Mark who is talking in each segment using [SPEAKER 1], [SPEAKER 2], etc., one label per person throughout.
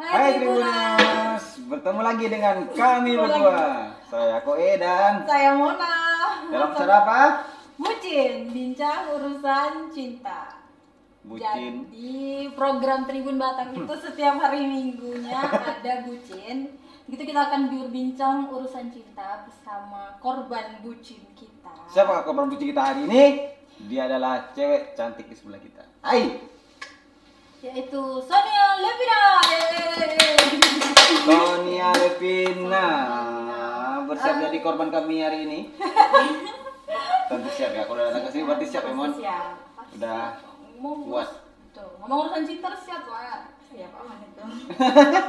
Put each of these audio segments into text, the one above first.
[SPEAKER 1] Hai Tribunas, bertemu lagi dengan kami
[SPEAKER 2] Bertemu
[SPEAKER 1] berdua. Saya Koe dan
[SPEAKER 2] Saya Mona.
[SPEAKER 1] dalam acara apa?
[SPEAKER 2] Bucin, bincang urusan cinta.
[SPEAKER 1] Bucin.
[SPEAKER 2] Jadi program Tribun Batak itu
[SPEAKER 1] Hmm.
[SPEAKER 2] setiap hari minggunya ada bucin. Gitu kita akan berbincang urusan cinta bersama korban bucin kita.
[SPEAKER 1] Siapa korban bucin kita hari ini? Dia adalah cewek cantik di sebelah kita. Hai.
[SPEAKER 2] Yaitu Sonia Levina. Yeay.
[SPEAKER 1] Sonia Levina bersiap jadi korban kami hari ini. Tentu siap ya. Kalau datang ke sini berarti siap ya, Mon.
[SPEAKER 3] Iya,
[SPEAKER 2] Siap.
[SPEAKER 1] Udah
[SPEAKER 2] Ngomong-
[SPEAKER 1] Kuat.
[SPEAKER 2] Tuh, ngomong urusan cinta harus siap, Wak.
[SPEAKER 3] ya,
[SPEAKER 2] Siap aman itu.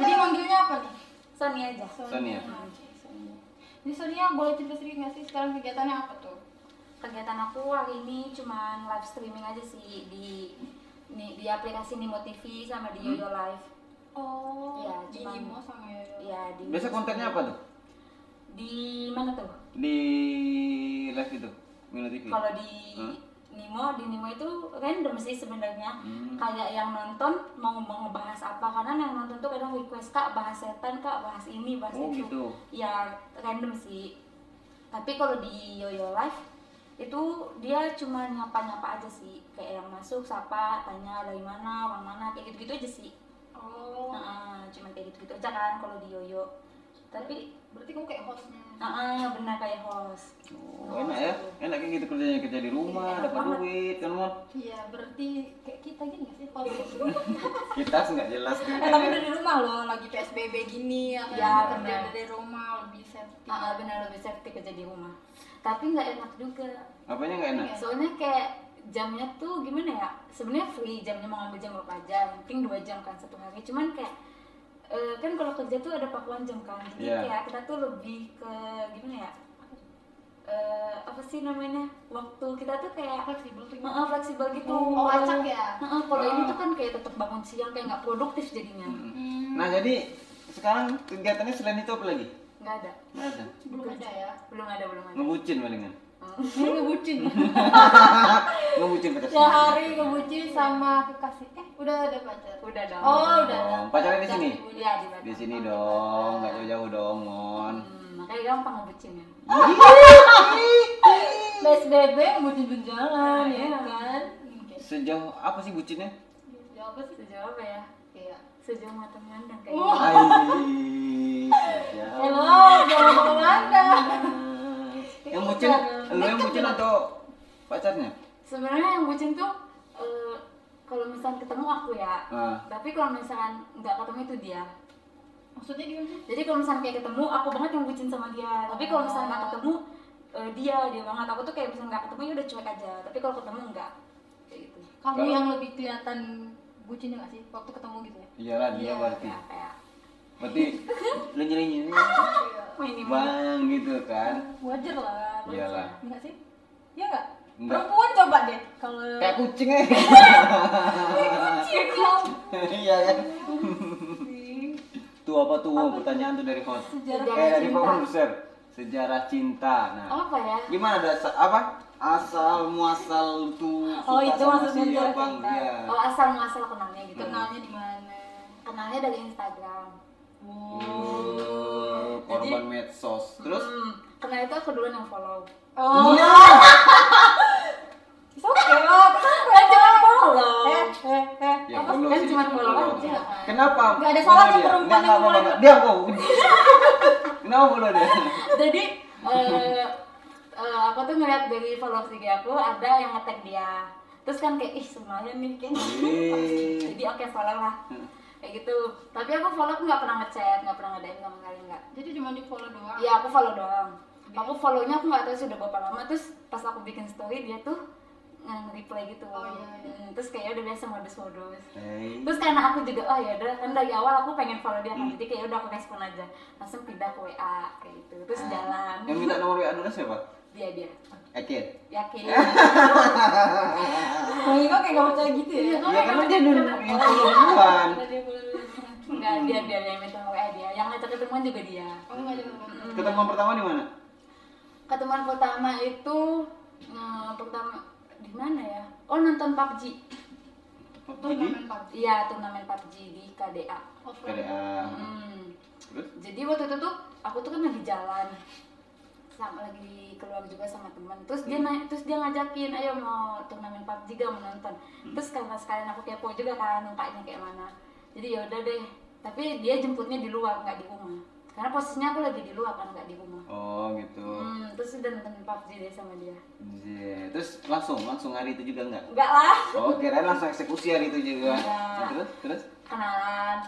[SPEAKER 2] Jadi manggilnya apa nih? Sonia aja.
[SPEAKER 1] Sonia.
[SPEAKER 2] Jadi Sonia boleh cerita sedikit nggak sih sekarang kegiatannya apa tuh?
[SPEAKER 3] kegiatan aku hari ini cuman live streaming aja sih di ni- di aplikasi Nimo TV
[SPEAKER 1] Hmm?
[SPEAKER 3] sama di Yoyo Live.
[SPEAKER 2] Oh,
[SPEAKER 3] Iya,
[SPEAKER 2] di
[SPEAKER 3] cuman-
[SPEAKER 2] Imo sama Yoyo.
[SPEAKER 3] Ya, di
[SPEAKER 1] Biasa kontennya apa tuh?
[SPEAKER 3] Di mana tuh?
[SPEAKER 1] Di live itu, Milo TV.
[SPEAKER 3] Kalau di
[SPEAKER 1] Hmm?
[SPEAKER 3] Nimo, di Nimo itu random sih sebenarnya.
[SPEAKER 1] Hmm.
[SPEAKER 3] Kayak yang nonton mau mau ngebahas apa karena yang nonton tuh kadang request Kak bahas setan, Kak bahas ini, bahas
[SPEAKER 1] Oh,
[SPEAKER 3] itu.
[SPEAKER 1] gitu.
[SPEAKER 3] Ya random sih. Tapi kalau di Yoyo Live itu dia cuma nyapa-nyapa aja sih kayak yang masuk sapa tanya dari mana orang mana kayak gitu-gitu aja sih
[SPEAKER 2] Oh,
[SPEAKER 3] Nah, cuma kayak gitu-gitu aja kan kalau di Yoyo tapi
[SPEAKER 2] berarti kamu kayak hostnya.
[SPEAKER 3] ah, ah, benar kayak host
[SPEAKER 1] Oh, enak ya, enak kayak gitu kerjanya kerja di rumah,
[SPEAKER 3] Enak
[SPEAKER 1] dapat
[SPEAKER 3] banget.
[SPEAKER 1] duit, kan Mon?
[SPEAKER 2] Iya, berarti kayak kita gini nggak sih host?
[SPEAKER 1] Kita sih nggak jelas tuh.
[SPEAKER 2] eh, tapi dari rumah loh, lagi PSBB gini, ya, kan?
[SPEAKER 3] Iya,
[SPEAKER 2] kerja
[SPEAKER 3] benar.
[SPEAKER 2] dari rumah lebih safety.
[SPEAKER 3] ah, ah, benar lebih safety kerja di rumah tapi nggak enak juga
[SPEAKER 1] Apanya nggak
[SPEAKER 2] Iya.
[SPEAKER 1] enak?
[SPEAKER 3] soalnya kayak jamnya tuh gimana ya sebenarnya free jamnya mau ngambil jam berapa jam mungkin dua jam kan satu hari cuman kayak eh, kan kalau kerja tuh ada pakuan jam kan jadi
[SPEAKER 1] Iya.
[SPEAKER 3] kayak kita tuh lebih ke gimana ya Eh, apa sih namanya waktu kita tuh kayak
[SPEAKER 2] Fleksibel tuh.
[SPEAKER 3] Heeh, fleksibel gitu.
[SPEAKER 2] Oh, acak ya?
[SPEAKER 3] Heeh, kalau ini
[SPEAKER 1] Ah.
[SPEAKER 3] tuh kan kayak tetap bangun siang kayak nggak produktif jadinya.
[SPEAKER 2] Hmm.
[SPEAKER 1] Nah jadi sekarang kegiatannya selain itu apa lagi?
[SPEAKER 3] Nggak ada.
[SPEAKER 1] Nggak ada.
[SPEAKER 2] Belum ada ya.
[SPEAKER 3] Belum ada, belum ada.
[SPEAKER 1] Ngebucin palingan.
[SPEAKER 3] Heeh.
[SPEAKER 2] Ini ngebucin.
[SPEAKER 1] Ngebucin pacar.
[SPEAKER 2] Sehari ngebucin sama kekasih. Eh, udah ada pacar.
[SPEAKER 3] Udah dong.
[SPEAKER 2] Oh, udah. ada.
[SPEAKER 1] Dong, pacarnya di sini.
[SPEAKER 3] Iya, di Batam.
[SPEAKER 1] Di sini dong, nggak jauh-jauh dong, Mon.
[SPEAKER 3] Hmm, makanya gampang ya. ngebucinnya.
[SPEAKER 2] PSBB ngebucin berjalan ya
[SPEAKER 3] Iya.
[SPEAKER 2] kan. Oke.
[SPEAKER 1] Sejauh apa sih bucinnya?
[SPEAKER 2] Jawab apa sih?
[SPEAKER 3] Sejauh apa ya?
[SPEAKER 2] Iya.
[SPEAKER 3] Sejauh mata memandang
[SPEAKER 2] Wah.
[SPEAKER 3] kayaknya.
[SPEAKER 1] Hai. sejauh.
[SPEAKER 2] Hello, jawab apa Anda?
[SPEAKER 1] Yang bucin, lu yang bucin atau pacarnya?
[SPEAKER 3] Sebenarnya yang bucin tuh eh, kalau misalnya ketemu aku ya.
[SPEAKER 1] Ah.
[SPEAKER 3] Tapi kalau misalnya nggak ketemu itu dia.
[SPEAKER 2] Maksudnya gimana sih?
[SPEAKER 3] Jadi kalau misalnya kayak ketemu, aku banget yang bucin sama dia. Tapi kalau misalnya nggak ketemu, eh, dia dia banget. Aku tuh kayak misalnya nggak ketemu ya udah cuek aja. Tapi kalau ketemu nggak. Kayak gitu.
[SPEAKER 2] Kamu
[SPEAKER 1] Kalau-
[SPEAKER 2] yang lebih kelihatan bucinnya nggak sih waktu ketemu gitu ya?
[SPEAKER 1] Iyalah dia
[SPEAKER 2] Iya,
[SPEAKER 1] berarti.
[SPEAKER 3] Ya, kayak
[SPEAKER 1] Berarti lu nyerinya
[SPEAKER 2] Iya.
[SPEAKER 3] minimal.
[SPEAKER 1] bang gitu kan.
[SPEAKER 2] Wajar lah. wajar.
[SPEAKER 1] Iyalah.
[SPEAKER 2] Enggak sih? Iya enggak?
[SPEAKER 1] Nggak.
[SPEAKER 2] Perempuan coba deh kalau
[SPEAKER 1] Kayak kucing eh.
[SPEAKER 2] Iya, kamu.
[SPEAKER 1] Iya kan. Tuh apa tuh pertanyaan tuh dari host?
[SPEAKER 2] Sejarah
[SPEAKER 1] eh dari
[SPEAKER 3] cinta.
[SPEAKER 1] produser. Sejarah cinta. Nah,
[SPEAKER 3] Apa ya?
[SPEAKER 1] gimana ada apa? Asal muasal tuh
[SPEAKER 2] Oh, itu maksudnya sejarah
[SPEAKER 1] siapa
[SPEAKER 2] cinta.
[SPEAKER 1] enggak?
[SPEAKER 3] Oh asal muasal kenalnya gitu.
[SPEAKER 2] kenalnya di mana?
[SPEAKER 3] Kenalnya dari Instagram.
[SPEAKER 1] Oh, korban medsos. Terus
[SPEAKER 3] Hmm, kenal itu aku duluan yang follow.
[SPEAKER 2] Oh,
[SPEAKER 1] Iya.
[SPEAKER 2] it's okay lah.
[SPEAKER 3] Kan cuma follow.
[SPEAKER 2] Eh, eh, eh.
[SPEAKER 1] Ya,
[SPEAKER 3] Apa?
[SPEAKER 1] follow
[SPEAKER 3] Kan
[SPEAKER 1] sih,
[SPEAKER 3] cuma follow aja.
[SPEAKER 1] Kenapa?
[SPEAKER 2] Nggak ada salah
[SPEAKER 1] follow
[SPEAKER 2] tuh
[SPEAKER 1] dia?
[SPEAKER 2] perempuan
[SPEAKER 1] Nggak,
[SPEAKER 2] yang
[SPEAKER 1] nggak,
[SPEAKER 2] mulai-
[SPEAKER 1] nggak. Diam kau. Kenapa follow dia?
[SPEAKER 3] Jadi eh, eh, aku tuh ngeliat dari followers IG aku ada yang nge-tag dia. Terus kan kayak ih semuanya nih kayaknya.
[SPEAKER 1] Ih.
[SPEAKER 3] Jadi oke follow lah. Kayak gitu. Tapi aku follow aku nggak pernah ngechat, nggak pernah nge-DM sama sekali nggak.
[SPEAKER 2] Jadi cuma di follow doang.
[SPEAKER 3] Iya aku follow doang. Aku follownya aku nggak tahu sudah berapa lama. Terus pas aku bikin story dia tuh nge-reply gitu.
[SPEAKER 2] Oh, iya, iya.
[SPEAKER 3] Hmm, Terus kayaknya udah biasa modus-modus.
[SPEAKER 1] Hey.
[SPEAKER 3] terus karena aku juga oh ya udah kan dari awal aku pengen follow dia kan jadi kayak udah aku respon aja langsung pindah ke WA kayak gitu terus jalan
[SPEAKER 1] Ah. Yang minta nomor WA dulu siapa?
[SPEAKER 3] dia dia
[SPEAKER 1] Ekid.
[SPEAKER 3] yakin
[SPEAKER 2] Bagi kok kayak gak percaya gitu ya?
[SPEAKER 1] Iya karena dia dulu yang follow duluan.
[SPEAKER 3] enggak dia dia yang minta WA dia yang ngajak ketemuan juga dia
[SPEAKER 2] Kamu gak ada apa-apa.
[SPEAKER 1] Ketemuan Hmm. pertama di mana?
[SPEAKER 3] ketemuan pertama itu eh, pertama di mana ya oh nonton PUBG
[SPEAKER 1] Jadi
[SPEAKER 2] turnamen PUBG
[SPEAKER 3] Iya, turnamen PUBG di KDA.
[SPEAKER 2] offline
[SPEAKER 1] KDA.
[SPEAKER 3] Hmm.
[SPEAKER 1] Terus?
[SPEAKER 3] Jadi waktu itu tuh aku tuh kan lagi jalan sama lagi keluar juga sama teman. Terus dia naik, terus dia ngajakin, ayo mau turnamen PUBG gak mau nonton. Terus karena sekalian aku kepo juga kan mukanya kayak mana. Jadi ya udah deh. Tapi dia jemputnya di luar nggak di rumah. Karena posisinya aku lagi di luar kan nggak di rumah.
[SPEAKER 1] Oh gitu.
[SPEAKER 3] Hmm, terus udah nonton PUBG deh sama dia.
[SPEAKER 1] Iya. Terus langsung langsung hari itu juga enggak?
[SPEAKER 3] Enggak lah.
[SPEAKER 1] Oh kirain langsung eksekusi hari itu juga.
[SPEAKER 3] Enggak.
[SPEAKER 1] Nah, terus terus.
[SPEAKER 3] kenalan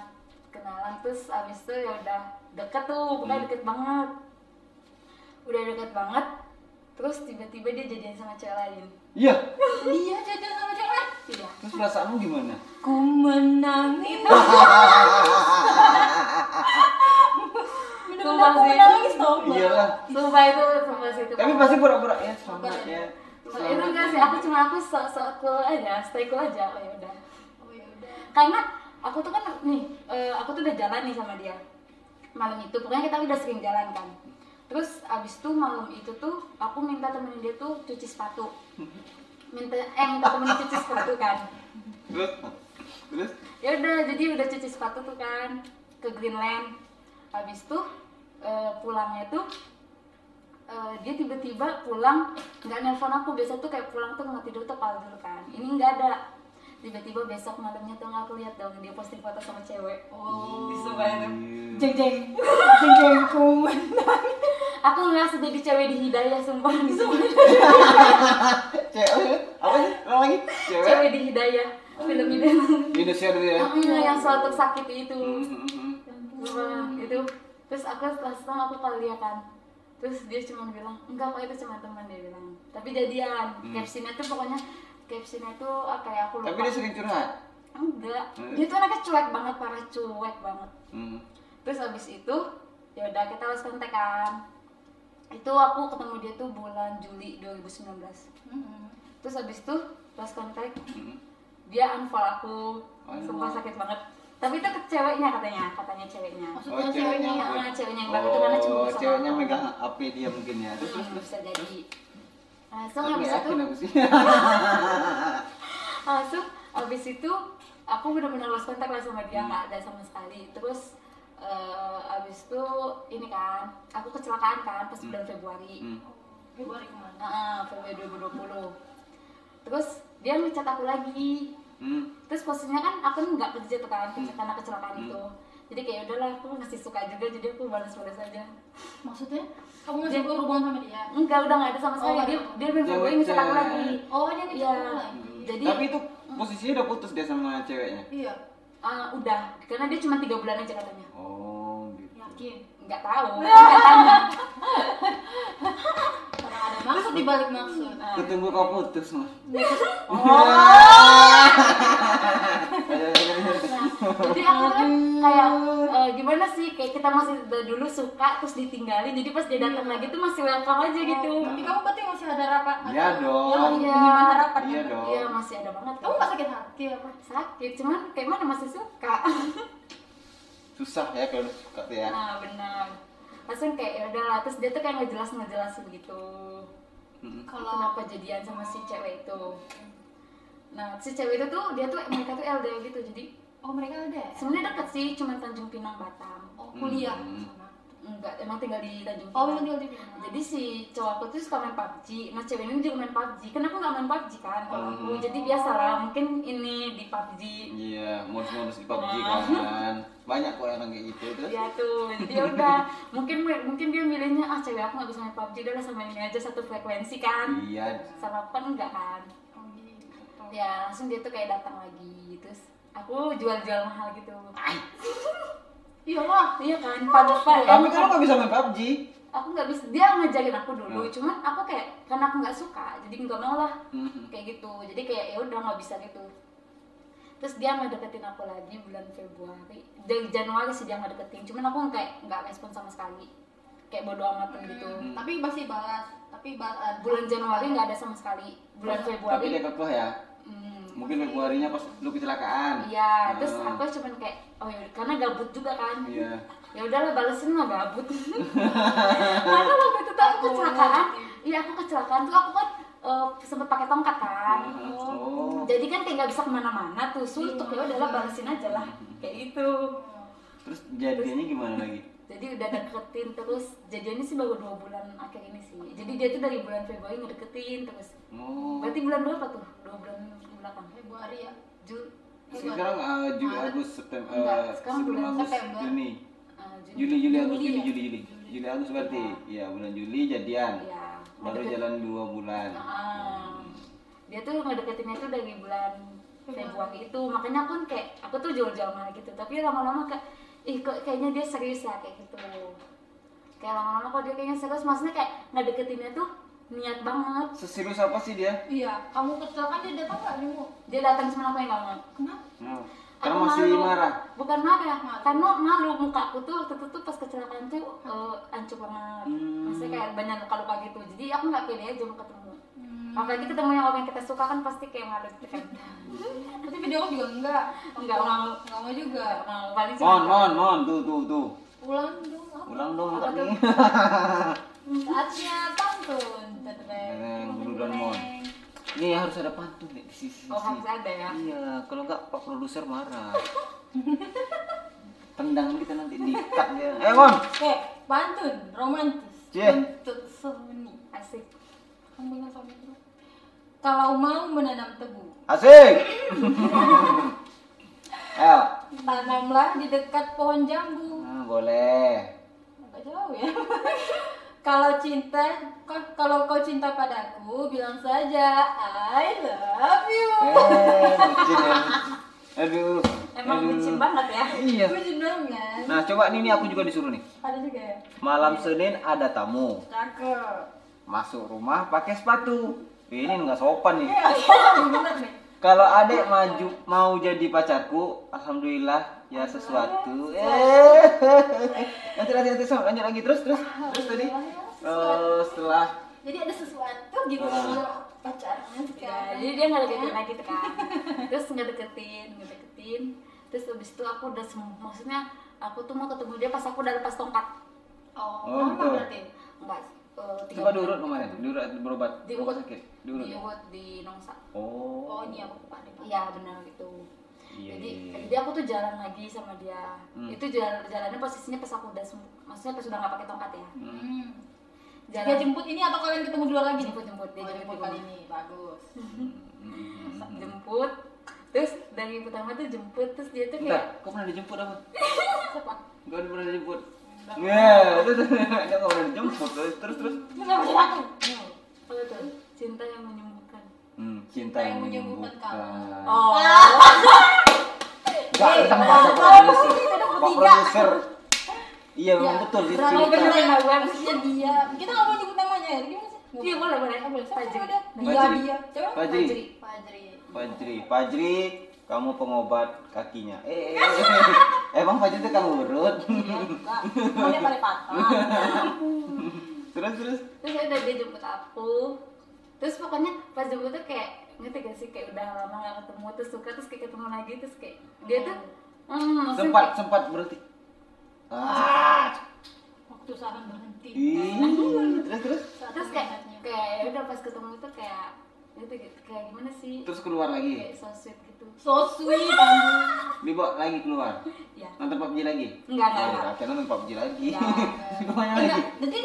[SPEAKER 3] kenalan terus abis itu ya udah deket tuh pokoknya deket banget udah deket banget terus tiba-tiba dia jadian sama cewek lain
[SPEAKER 1] Iya.
[SPEAKER 4] Dia jajan sama cewek.
[SPEAKER 3] iya
[SPEAKER 1] Terus perasaanmu gimana?
[SPEAKER 4] Ku menangis. Bener-bener aku
[SPEAKER 3] Sumpah sih.
[SPEAKER 4] menangis tau Mbak.
[SPEAKER 1] Iyalah.
[SPEAKER 3] sumpah itu sumpah sih itu
[SPEAKER 1] Tapi pasti pura-pura ya sama
[SPEAKER 4] Pura-pura.
[SPEAKER 1] ya.
[SPEAKER 3] Sumpah itu enggak sih aku cuma aku sok sok cool aja stay cool aja oh, ya udah
[SPEAKER 2] oh ya udah
[SPEAKER 3] karena aku tuh kan nih eh, aku tuh udah jalan nih sama dia malam itu pokoknya kita udah sering jalan kan terus abis itu malam itu tuh aku minta temenin dia tuh cuci sepatu minta eh minta temenin cuci sepatu kan
[SPEAKER 1] Terus terus.
[SPEAKER 3] ya udah jadi udah cuci sepatu tuh kan ke Greenland habis tuh eh, pulangnya tuh eh, dia tiba-tiba pulang nggak nelpon aku biasa tuh kayak pulang tuh nggak tidur tuh kalau dulu kan ini nggak ada tiba-tiba besok malamnya tuh aku lihat dong dia posting foto sama cewek oh
[SPEAKER 1] Iya.
[SPEAKER 4] Jeng jeng. Jeng jeng ku menangis.
[SPEAKER 3] aku ngerasa jadi cewek di hidayah sumpah
[SPEAKER 1] Cewek apa sih? Ulang lagi? Cewek.
[SPEAKER 3] cewek di hidayah film hidayah
[SPEAKER 1] Indonesia dulu ya.
[SPEAKER 3] Mm, yang selalu sakit itu
[SPEAKER 1] Hmm, hmm, hmm.
[SPEAKER 3] Wah, itu terus aku setelah setengah aku kalau dia kan terus dia cuma bilang enggak kok itu cuma teman dia bilang tapi jadian
[SPEAKER 1] Hmm.
[SPEAKER 3] captionnya tuh pokoknya captionnya tuh apa ya aku lupa
[SPEAKER 1] Tapi dia sering curhat.
[SPEAKER 3] enggak
[SPEAKER 1] Hmm.
[SPEAKER 3] dia tuh anaknya cuek banget parah cuek banget
[SPEAKER 1] Hmm.
[SPEAKER 3] terus abis itu ya udah kita harus kontak kan itu aku ketemu dia tuh bulan Juli 2019
[SPEAKER 2] Mm-hmm.
[SPEAKER 3] terus abis itu lost kontak
[SPEAKER 1] hmm.
[SPEAKER 3] dia unfollow aku
[SPEAKER 1] Aduh.
[SPEAKER 3] sumpah sakit banget tapi itu ke ceweknya katanya katanya ceweknya
[SPEAKER 2] maksudnya
[SPEAKER 1] Oh,
[SPEAKER 2] ceweknya
[SPEAKER 1] ceweknya.
[SPEAKER 2] yang
[SPEAKER 3] Karena ceweknya yang banget itu karena cemburu
[SPEAKER 1] Oh,
[SPEAKER 3] sama
[SPEAKER 1] ceweknya
[SPEAKER 3] aku.
[SPEAKER 1] megang HP dia mungkin ya. Terus terus
[SPEAKER 3] Hmm,
[SPEAKER 1] terus.
[SPEAKER 3] bisa jadi langsung
[SPEAKER 1] Aku
[SPEAKER 3] habis itu
[SPEAKER 1] yakin aku sih.
[SPEAKER 3] langsung habis Ah, itu aku benar-benar lost kontak lah sama dia nggak ada sama sekali terus eh, habis itu ini kan aku kecelakaan kan pas bulan Februari
[SPEAKER 1] Hmm.
[SPEAKER 2] Februari kemana
[SPEAKER 3] Heeh, Februari 2020 terus dia ngechat aku lagi
[SPEAKER 1] Hmm.
[SPEAKER 3] terus posisinya kan aku nggak kerja tuh kan
[SPEAKER 1] Hmm.
[SPEAKER 3] karena kecelakaan
[SPEAKER 1] Hmm.
[SPEAKER 3] itu jadi kayak "Ya udahlah aku masih suka juga jadi aku balas-balas aja
[SPEAKER 2] maksudnya kamu masih
[SPEAKER 3] Dia-
[SPEAKER 2] berhubungan sama dia
[SPEAKER 3] enggak udah nggak ada sama sekali
[SPEAKER 1] Oh.
[SPEAKER 2] nggak
[SPEAKER 3] dia
[SPEAKER 2] ada.
[SPEAKER 3] dia bilang gue ngechat aku
[SPEAKER 1] Cewek.
[SPEAKER 3] lagi
[SPEAKER 2] oh dia
[SPEAKER 3] Iya.
[SPEAKER 2] kecil lagi
[SPEAKER 3] Jadi-
[SPEAKER 1] Tapi itu posisinya udah putus dia sama ceweknya.
[SPEAKER 2] iya
[SPEAKER 3] Ah, udah karena dia cuma tiga bulan aja katanya
[SPEAKER 1] Oh, gitu.
[SPEAKER 2] yakin
[SPEAKER 3] nggak tahu nggak tanya.
[SPEAKER 2] karena ada maksud dibalik maksud
[SPEAKER 1] Ketunggu kau putus Oh. mah.
[SPEAKER 3] Oh. Nah, jadi aku kan kayak eh, gimana sih kayak kita masih dari dulu suka terus ditinggalin jadi pas dia
[SPEAKER 2] Iya.
[SPEAKER 3] datang lagi tuh masih welcome aja gitu
[SPEAKER 2] tapi kamu berarti masih ada rapat
[SPEAKER 1] Iya
[SPEAKER 2] atau-
[SPEAKER 1] dong.
[SPEAKER 2] ya, masih
[SPEAKER 3] Iya.
[SPEAKER 2] menyimpan harapan
[SPEAKER 1] Iya
[SPEAKER 2] kan?
[SPEAKER 1] dong.
[SPEAKER 3] iya masih ada banget
[SPEAKER 2] kamu gak sakit hati apa
[SPEAKER 3] sakit cuman kayak mana masih suka
[SPEAKER 1] Susah ya kalau udah suka tuh ya.
[SPEAKER 3] nah benar langsung kayak ya udahlah terus dia tuh kayak ngejelas ngejelas begitu Hmm.
[SPEAKER 1] Mm-mm.
[SPEAKER 2] kalau
[SPEAKER 3] kenapa jadian sama si cewek itu nah si cewek itu tuh dia tuh mereka tuh LDR gitu jadi
[SPEAKER 2] oh mereka ada
[SPEAKER 3] sebenarnya deket sih cuman Tanjung Pinang Batam
[SPEAKER 2] oh kuliah
[SPEAKER 1] Hmm.
[SPEAKER 2] sama
[SPEAKER 3] Enggak, emang tinggal di
[SPEAKER 2] oh
[SPEAKER 3] Tanjung Pinang.
[SPEAKER 2] yang tinggal di Pinang.
[SPEAKER 3] Jadi si cowok aku tuh suka main PUBG. Nah, cewek ini juga main PUBG. Kan aku nggak main PUBG kan kalau aku.
[SPEAKER 1] Hmm.
[SPEAKER 3] Jadi biasa lah, mungkin ini di PUBG.
[SPEAKER 1] Iya, modus-modus di PUBG kan. Banyak kok orang kayak gitu terus.
[SPEAKER 3] Ya tuh, jadi udah mungkin mungkin dia milihnya ah cewek aku nggak bisa main PUBG, udah lah sama ini aja satu frekuensi kan.
[SPEAKER 1] Iya.
[SPEAKER 3] Sama aku kan enggak kan.
[SPEAKER 2] Oh, gitu.
[SPEAKER 3] Ya langsung dia tuh kayak datang lagi. Terus aku jual-jual mahal gitu.
[SPEAKER 2] iya lah
[SPEAKER 3] Iya kan, pada pada
[SPEAKER 1] Tapi kalau nggak bisa main PUBG,
[SPEAKER 3] aku nggak bisa dia ngajarin aku dulu
[SPEAKER 1] Hmm.
[SPEAKER 3] cuman aku kayak karena aku nggak suka jadi nggak mau lah
[SPEAKER 1] Mhm.
[SPEAKER 3] kayak gitu jadi kayak ya udah nggak bisa gitu terus dia ngedeketin aku lagi bulan Februari dari Januari sih dia ngedeketin cuman aku kayak nggak respon sama sekali kayak bodo amatan gitu
[SPEAKER 2] Hmm, tapi masih balas tapi balas eh,
[SPEAKER 3] bulan Januari nggak ada sama sekali
[SPEAKER 1] tapi
[SPEAKER 3] bulan
[SPEAKER 1] dia
[SPEAKER 3] Februari
[SPEAKER 1] kekeh ya.
[SPEAKER 3] hmm,
[SPEAKER 1] Mungkin Februarinya pas lu kecelakaan.
[SPEAKER 3] iya terus
[SPEAKER 1] Ah,
[SPEAKER 3] aku cuman kayak oh ya karena gabut juga kan
[SPEAKER 1] Iya.
[SPEAKER 3] ya udahlah balesin mah gabut karena waktu itu tuh aku kecelakaan iya aku kecelakaan tuh aku kan eh, sempet pakai tongkat kan
[SPEAKER 1] Oh.
[SPEAKER 3] jadi kan kayak nggak bisa kemana-mana tuh suntuk ya udahlah balesin aja lah kayak gitu
[SPEAKER 1] Terus jadinya gimana lagi?
[SPEAKER 3] jadi udah deketin terus jadiannya sih baru dua bulan akhir ini sih jadi dia tuh dari bulan Februari ngedeketin terus
[SPEAKER 1] Oh.
[SPEAKER 3] berarti bulan berapa tuh dua bulan belakang
[SPEAKER 2] Februari ya
[SPEAKER 3] Ju
[SPEAKER 1] Sekarang uh, Juli, Agustus, September,
[SPEAKER 3] Enggak,
[SPEAKER 1] uh,
[SPEAKER 3] sekarang
[SPEAKER 1] sebelum
[SPEAKER 3] bulan
[SPEAKER 1] Agustus,
[SPEAKER 2] September.
[SPEAKER 1] Juni.
[SPEAKER 3] eh, Juni.
[SPEAKER 1] Juli, Juli, Agustus,
[SPEAKER 2] Juli
[SPEAKER 1] Juli,
[SPEAKER 2] ya?
[SPEAKER 1] Juli, Juli. Juli, Agustus berarti. Iya, bulan Juli jadian.
[SPEAKER 3] Iya.
[SPEAKER 1] Baru jalan dua bulan.
[SPEAKER 3] Ah, dia tuh ngedeketinnya tuh dari bulan Februari itu makanya pun kayak aku tuh jual-jual mana gitu tapi lama-lama kayak ih kok kayaknya dia serius ya kayak gitu kayak lama-lama kok dia kayaknya serius maksudnya kayak ngedeketinnya tuh niat banget
[SPEAKER 1] Seserius apa sih dia?
[SPEAKER 2] iya kamu kecelakaan dia datang nggak Bimo
[SPEAKER 3] dia datang cuma aku yang nggak mau
[SPEAKER 2] kenapa
[SPEAKER 1] Hmm.
[SPEAKER 3] Aku
[SPEAKER 1] Karena masih
[SPEAKER 3] malu.
[SPEAKER 1] marah.
[SPEAKER 3] bukan marah
[SPEAKER 2] Malu.
[SPEAKER 3] karena malu muka aku tuh waktu itu tuh pas kecelakaan tuh eh, hancur banget
[SPEAKER 1] Hmm.
[SPEAKER 3] maksudnya kayak banyak luka-luka gitu jadi aku nggak pede aja mau ketemu apalagi ketemu yang orang yang kita suka kan pasti kayak malu gitu kan
[SPEAKER 2] berarti video call juga enggak
[SPEAKER 3] Enggak mau.
[SPEAKER 2] enggak mau juga
[SPEAKER 3] Nggak mau paling cuma-
[SPEAKER 1] Mon, mon, mon, tuh, tuh, tuh.
[SPEAKER 2] pulang dong apa?
[SPEAKER 1] Ulang dong
[SPEAKER 3] Apa
[SPEAKER 1] tak nih.
[SPEAKER 4] Saatnya pantun. Tadadeng.
[SPEAKER 1] Eh, buruan mon. Nih harus ada pantun nih di sisi.
[SPEAKER 3] oh harus ada ya
[SPEAKER 1] Iya, kalau enggak Pak produser marah. Tendang kita nanti dikat dia. Eh, Mon.
[SPEAKER 4] Oke, pantun romantis
[SPEAKER 1] Cie.
[SPEAKER 4] untuk seni.
[SPEAKER 3] asik
[SPEAKER 2] kamu bilang sama itu
[SPEAKER 4] Kalau mau menanam tebu,
[SPEAKER 1] Asik. El.
[SPEAKER 4] tanamlah di dekat pohon jambu.
[SPEAKER 1] Nah, boleh.
[SPEAKER 4] Agak jauh ya. kalau cinta, ko- kalau kau cinta padaku, bilang saja I love you.
[SPEAKER 1] Eh, bucin ya. Aduh.
[SPEAKER 3] emang
[SPEAKER 1] aduh.
[SPEAKER 3] bucin banget ya
[SPEAKER 1] Iya.
[SPEAKER 4] Gue jeneng kan?
[SPEAKER 1] Nah, coba nih, nih aku juga disuruh nih.
[SPEAKER 4] Ada juga ya?
[SPEAKER 1] Malam Senin ada tamu.
[SPEAKER 4] Cakep.
[SPEAKER 1] Masuk rumah pakai sepatu. Ini nggak sopan nih.
[SPEAKER 4] Bener nih.
[SPEAKER 1] Kalau adek maju mau jadi pacarku, alhamdulillah ya sesuatu. Eh. Nanti nanti nanti so, lanjut lagi terus terus terus tadi. Eh, setelah
[SPEAKER 2] jadi ada sesuatu
[SPEAKER 4] Iya.
[SPEAKER 2] gitu
[SPEAKER 1] Ah.
[SPEAKER 2] sama pacarnya
[SPEAKER 3] Ya,
[SPEAKER 2] sekarang
[SPEAKER 3] jadi dia nggak deketin lagi tuh kan terus nggak deketin nggak deketin terus abis itu aku udah sem- maksudnya aku tuh mau ketemu dia pas aku udah lepas tongkat
[SPEAKER 2] oh,
[SPEAKER 1] Oh,
[SPEAKER 2] lama
[SPEAKER 1] gitu.
[SPEAKER 2] berarti
[SPEAKER 3] mbak eh, tiga
[SPEAKER 1] coba
[SPEAKER 3] bulan.
[SPEAKER 1] diurut kemarin, diurut berobat
[SPEAKER 3] Diurut.
[SPEAKER 1] rumah sakit, diurut. ya?
[SPEAKER 3] diurut di Nongsa
[SPEAKER 1] Oh.
[SPEAKER 2] oh ini aku pandai
[SPEAKER 3] iya benar gitu
[SPEAKER 1] Iya,
[SPEAKER 3] jadi
[SPEAKER 1] iya,
[SPEAKER 3] jadi
[SPEAKER 1] iya.
[SPEAKER 3] aku tuh jalan lagi sama dia
[SPEAKER 1] Hmm.
[SPEAKER 3] itu jalan jalannya posisinya pas aku udah sem- maksudnya pas udah nggak pakai tongkat
[SPEAKER 1] Iya.
[SPEAKER 3] ya
[SPEAKER 2] hmm.
[SPEAKER 3] jalan
[SPEAKER 4] Dia jemput ini atau kalian ketemu duluan lagi?
[SPEAKER 3] jemput jemput dia
[SPEAKER 2] Oh,
[SPEAKER 3] jemput
[SPEAKER 2] jemput
[SPEAKER 3] di
[SPEAKER 2] kali
[SPEAKER 3] rumah.
[SPEAKER 2] ini bagus
[SPEAKER 1] Hmm.
[SPEAKER 3] jemput terus dari pertama tuh jemput terus dia tuh
[SPEAKER 1] Bentar,
[SPEAKER 3] kayak
[SPEAKER 1] kau pernah dijemput apa?
[SPEAKER 3] apa
[SPEAKER 1] Gak ada pernah dijemput. Ya, itu tuh. Dia nggak pernah dijemput terus terus. terus.
[SPEAKER 2] kenapa sih aku
[SPEAKER 3] apa tuh cinta yang menyembuhkan
[SPEAKER 1] Hmm, cinta yang menyembuhkan.
[SPEAKER 3] oh
[SPEAKER 1] Gak ada masa Pak produser. Pak produser. Iya, memang betul itu
[SPEAKER 3] oh
[SPEAKER 1] cerita.
[SPEAKER 3] bener ya gue
[SPEAKER 4] Maksudnya dia. Kita nggak mau nyebut namanya ya. Gimana sih? Nggak
[SPEAKER 3] iya boleh boleh
[SPEAKER 4] Oh, boleh. Siapa
[SPEAKER 3] Fajri.
[SPEAKER 4] siapa dia? Dia
[SPEAKER 1] Fajri.
[SPEAKER 4] dia. Coba.
[SPEAKER 1] Fajri. Iya.
[SPEAKER 2] Fajri
[SPEAKER 1] Fajri, Fajri, kamu pengobat kakinya. Eh, eh, eh. emang Fajri itu kan urut.
[SPEAKER 4] Enggak. Boleh paling patah.
[SPEAKER 1] terus terus.
[SPEAKER 3] terus udah dia jemput aku terus pokoknya pas jemput tuh kayak ngerti gak sih kayak udah lama gak ketemu terus suka terus kayak ketemu lagi terus kayak dia tuh hmm, maksudnya
[SPEAKER 1] Sempat sempat berhenti. Ah,
[SPEAKER 4] Waktu saran berhenti.
[SPEAKER 1] ih, terus terus.
[SPEAKER 3] kayak- terus kayak kayak ya udah pas ketemu tuh kayak gitu gitu kayak gimana sih
[SPEAKER 1] Terus keluar lagi.
[SPEAKER 3] kayak so sweet gitu
[SPEAKER 4] So sweet banget.
[SPEAKER 1] Dibawa lagi keluar.
[SPEAKER 3] ya
[SPEAKER 1] Nonton PUBG lagi?
[SPEAKER 3] Enggak,
[SPEAKER 1] Oh,
[SPEAKER 3] enggak, enggak.
[SPEAKER 1] Akhirnya nonton PUBG lagi.
[SPEAKER 3] Ya.
[SPEAKER 1] Kemana
[SPEAKER 4] Eh,
[SPEAKER 1] lagi?
[SPEAKER 4] nggak. Jadi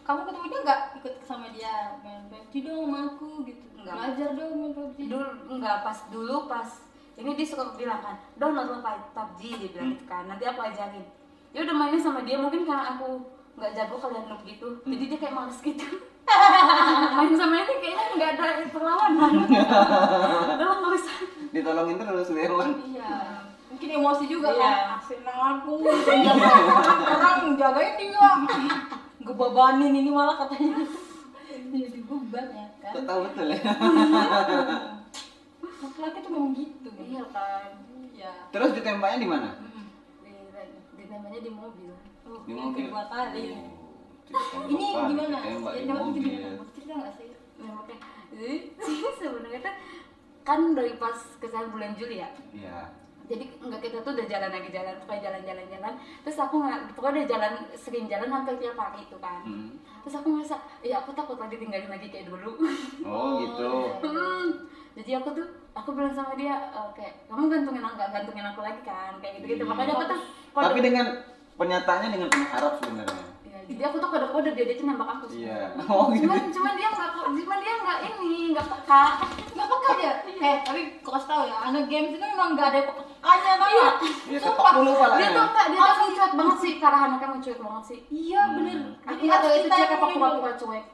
[SPEAKER 4] kamu ketemu dia nggak ikut sama dia main PUBG dong sama aku gitu.
[SPEAKER 3] Nggak.
[SPEAKER 4] Belajar dong main PUBG.
[SPEAKER 3] dulu enggak pas dulu pas ini dia suka bilang kan download lo Pak- PUBG dia bilang gitu kan nanti aku ajarin ya udah mainnya sama dia mungkin karena aku nggak jago kalian noob gitu jadi dia kayak males gitu main sama ini kayaknya nggak ada perlawanan udah nggak usah
[SPEAKER 1] Ditolongin terus Leon.
[SPEAKER 4] Iya. Mungkin emosi juga
[SPEAKER 3] Iya.
[SPEAKER 4] kan. Senang aku. senang aku. Orang jagain dia. Gebebanin ini malah katanya. Jadi beban ya kan.
[SPEAKER 1] Gak tahu betul ya.
[SPEAKER 4] Laki-laki tuh memang gitu.
[SPEAKER 3] iya kan
[SPEAKER 4] Iya.
[SPEAKER 1] Terus ditembaknya di mana?
[SPEAKER 3] di, ditembaknya di mobil
[SPEAKER 4] Oh,
[SPEAKER 1] Di
[SPEAKER 4] yang
[SPEAKER 1] mobil. Iya.
[SPEAKER 4] kedua kali.
[SPEAKER 1] Oh,
[SPEAKER 4] Ini gimana?
[SPEAKER 1] Tembak di
[SPEAKER 4] Jadi kamu
[SPEAKER 1] mobil.
[SPEAKER 4] gimana? Boleh Cerita nggak sih?
[SPEAKER 3] nembaknya kan jadi sebenarnya tuh kan dari pas kesalahan bulan Juli ya
[SPEAKER 1] Iya.
[SPEAKER 3] jadi enggak kita tuh udah jalan lagi jalan pokoknya jalan jalan jalan terus aku nggak pokoknya udah jalan sering jalan hampir tiap hari itu kan
[SPEAKER 1] Hmm.
[SPEAKER 3] terus aku ngerasa ya aku takut lagi tinggalin lagi kayak dulu
[SPEAKER 1] Oh gitu.
[SPEAKER 3] Hmm, jadi aku tuh aku bilang sama dia e, kayak kamu gantungin aku nggak gantungin aku lagi kan kayak gitu gitu
[SPEAKER 1] Hmm.
[SPEAKER 3] makanya aku tuh kode
[SPEAKER 1] Tapi dengan pernyataannya dengan penuh harap sebenarnya.
[SPEAKER 3] Ya, jadi aku tuh kode kode dia dia tuh nembak aku
[SPEAKER 1] Iya.
[SPEAKER 3] sebenarnya.
[SPEAKER 1] Oh gitu.
[SPEAKER 3] cuman cuman dia nggak kok- cuman dia nggak ini nggak peka
[SPEAKER 4] Gak peka dia.
[SPEAKER 3] Iya.
[SPEAKER 4] Eh, tapi kok kasih tau ya, anak games itu memang gak ada pekanya tau
[SPEAKER 3] Iya.
[SPEAKER 4] gak?
[SPEAKER 1] Ya ketok dulu
[SPEAKER 3] dia
[SPEAKER 1] palanya.
[SPEAKER 3] tuh nggak dia tuh
[SPEAKER 1] Oh,
[SPEAKER 3] cuek banget sih karena anaknya mau cuek banget sih
[SPEAKER 4] Iya
[SPEAKER 1] Hmm.
[SPEAKER 4] bener.
[SPEAKER 3] aku nggak tahu itu
[SPEAKER 4] Kita
[SPEAKER 3] cuek apa
[SPEAKER 4] yang dulu.
[SPEAKER 3] pura-pura cuek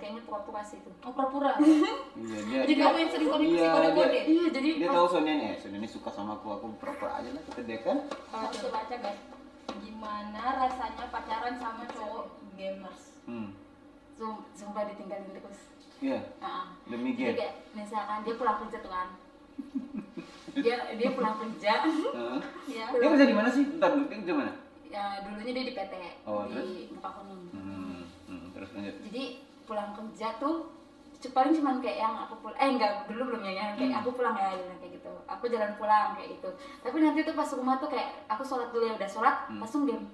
[SPEAKER 3] kayaknya pura-pura sih itu
[SPEAKER 4] Oh pura-pura.
[SPEAKER 1] Iya dia.
[SPEAKER 4] Jadi kamu yang sering koneksi
[SPEAKER 1] Iya,
[SPEAKER 4] kode-kode.
[SPEAKER 1] dia-
[SPEAKER 3] iya jadi
[SPEAKER 1] Dia
[SPEAKER 3] pas-
[SPEAKER 1] tahu Sonia nih, Sonia ini suka sama aku, aku pura-pura aja lah kita dia kan.
[SPEAKER 4] Harus dibaca guys. Gimana rasanya pacaran sama cowok gamers?
[SPEAKER 1] Hmm.
[SPEAKER 3] Zum- sumpah ditinggalin terus
[SPEAKER 1] Iya,
[SPEAKER 3] Ah, ah.
[SPEAKER 1] demi
[SPEAKER 3] Jadi
[SPEAKER 1] game.
[SPEAKER 3] kayak misalkan dia pulang kerja tuh kan dia dia pulang kerja
[SPEAKER 1] Heeh.
[SPEAKER 3] ya,
[SPEAKER 2] Iya.
[SPEAKER 1] Dia kerja di mana sih? Bentar, dulu, dia kerja mana?
[SPEAKER 3] ya dulunya dia di PT
[SPEAKER 1] Oh,
[SPEAKER 3] di Muka Kuning
[SPEAKER 1] Hmm. hmm, Terus lanjut.
[SPEAKER 3] jadi pulang kerja tuh cu- paling cuman kayak yang aku pulang eh enggak dulu belum ya yang kayak
[SPEAKER 1] Hmm.
[SPEAKER 3] aku pulang ya jalan kayak gitu aku jalan pulang kayak gitu tapi nanti tuh pas rumah tuh kayak aku sholat dulu ya udah sholat
[SPEAKER 1] Hmm.
[SPEAKER 3] langsung game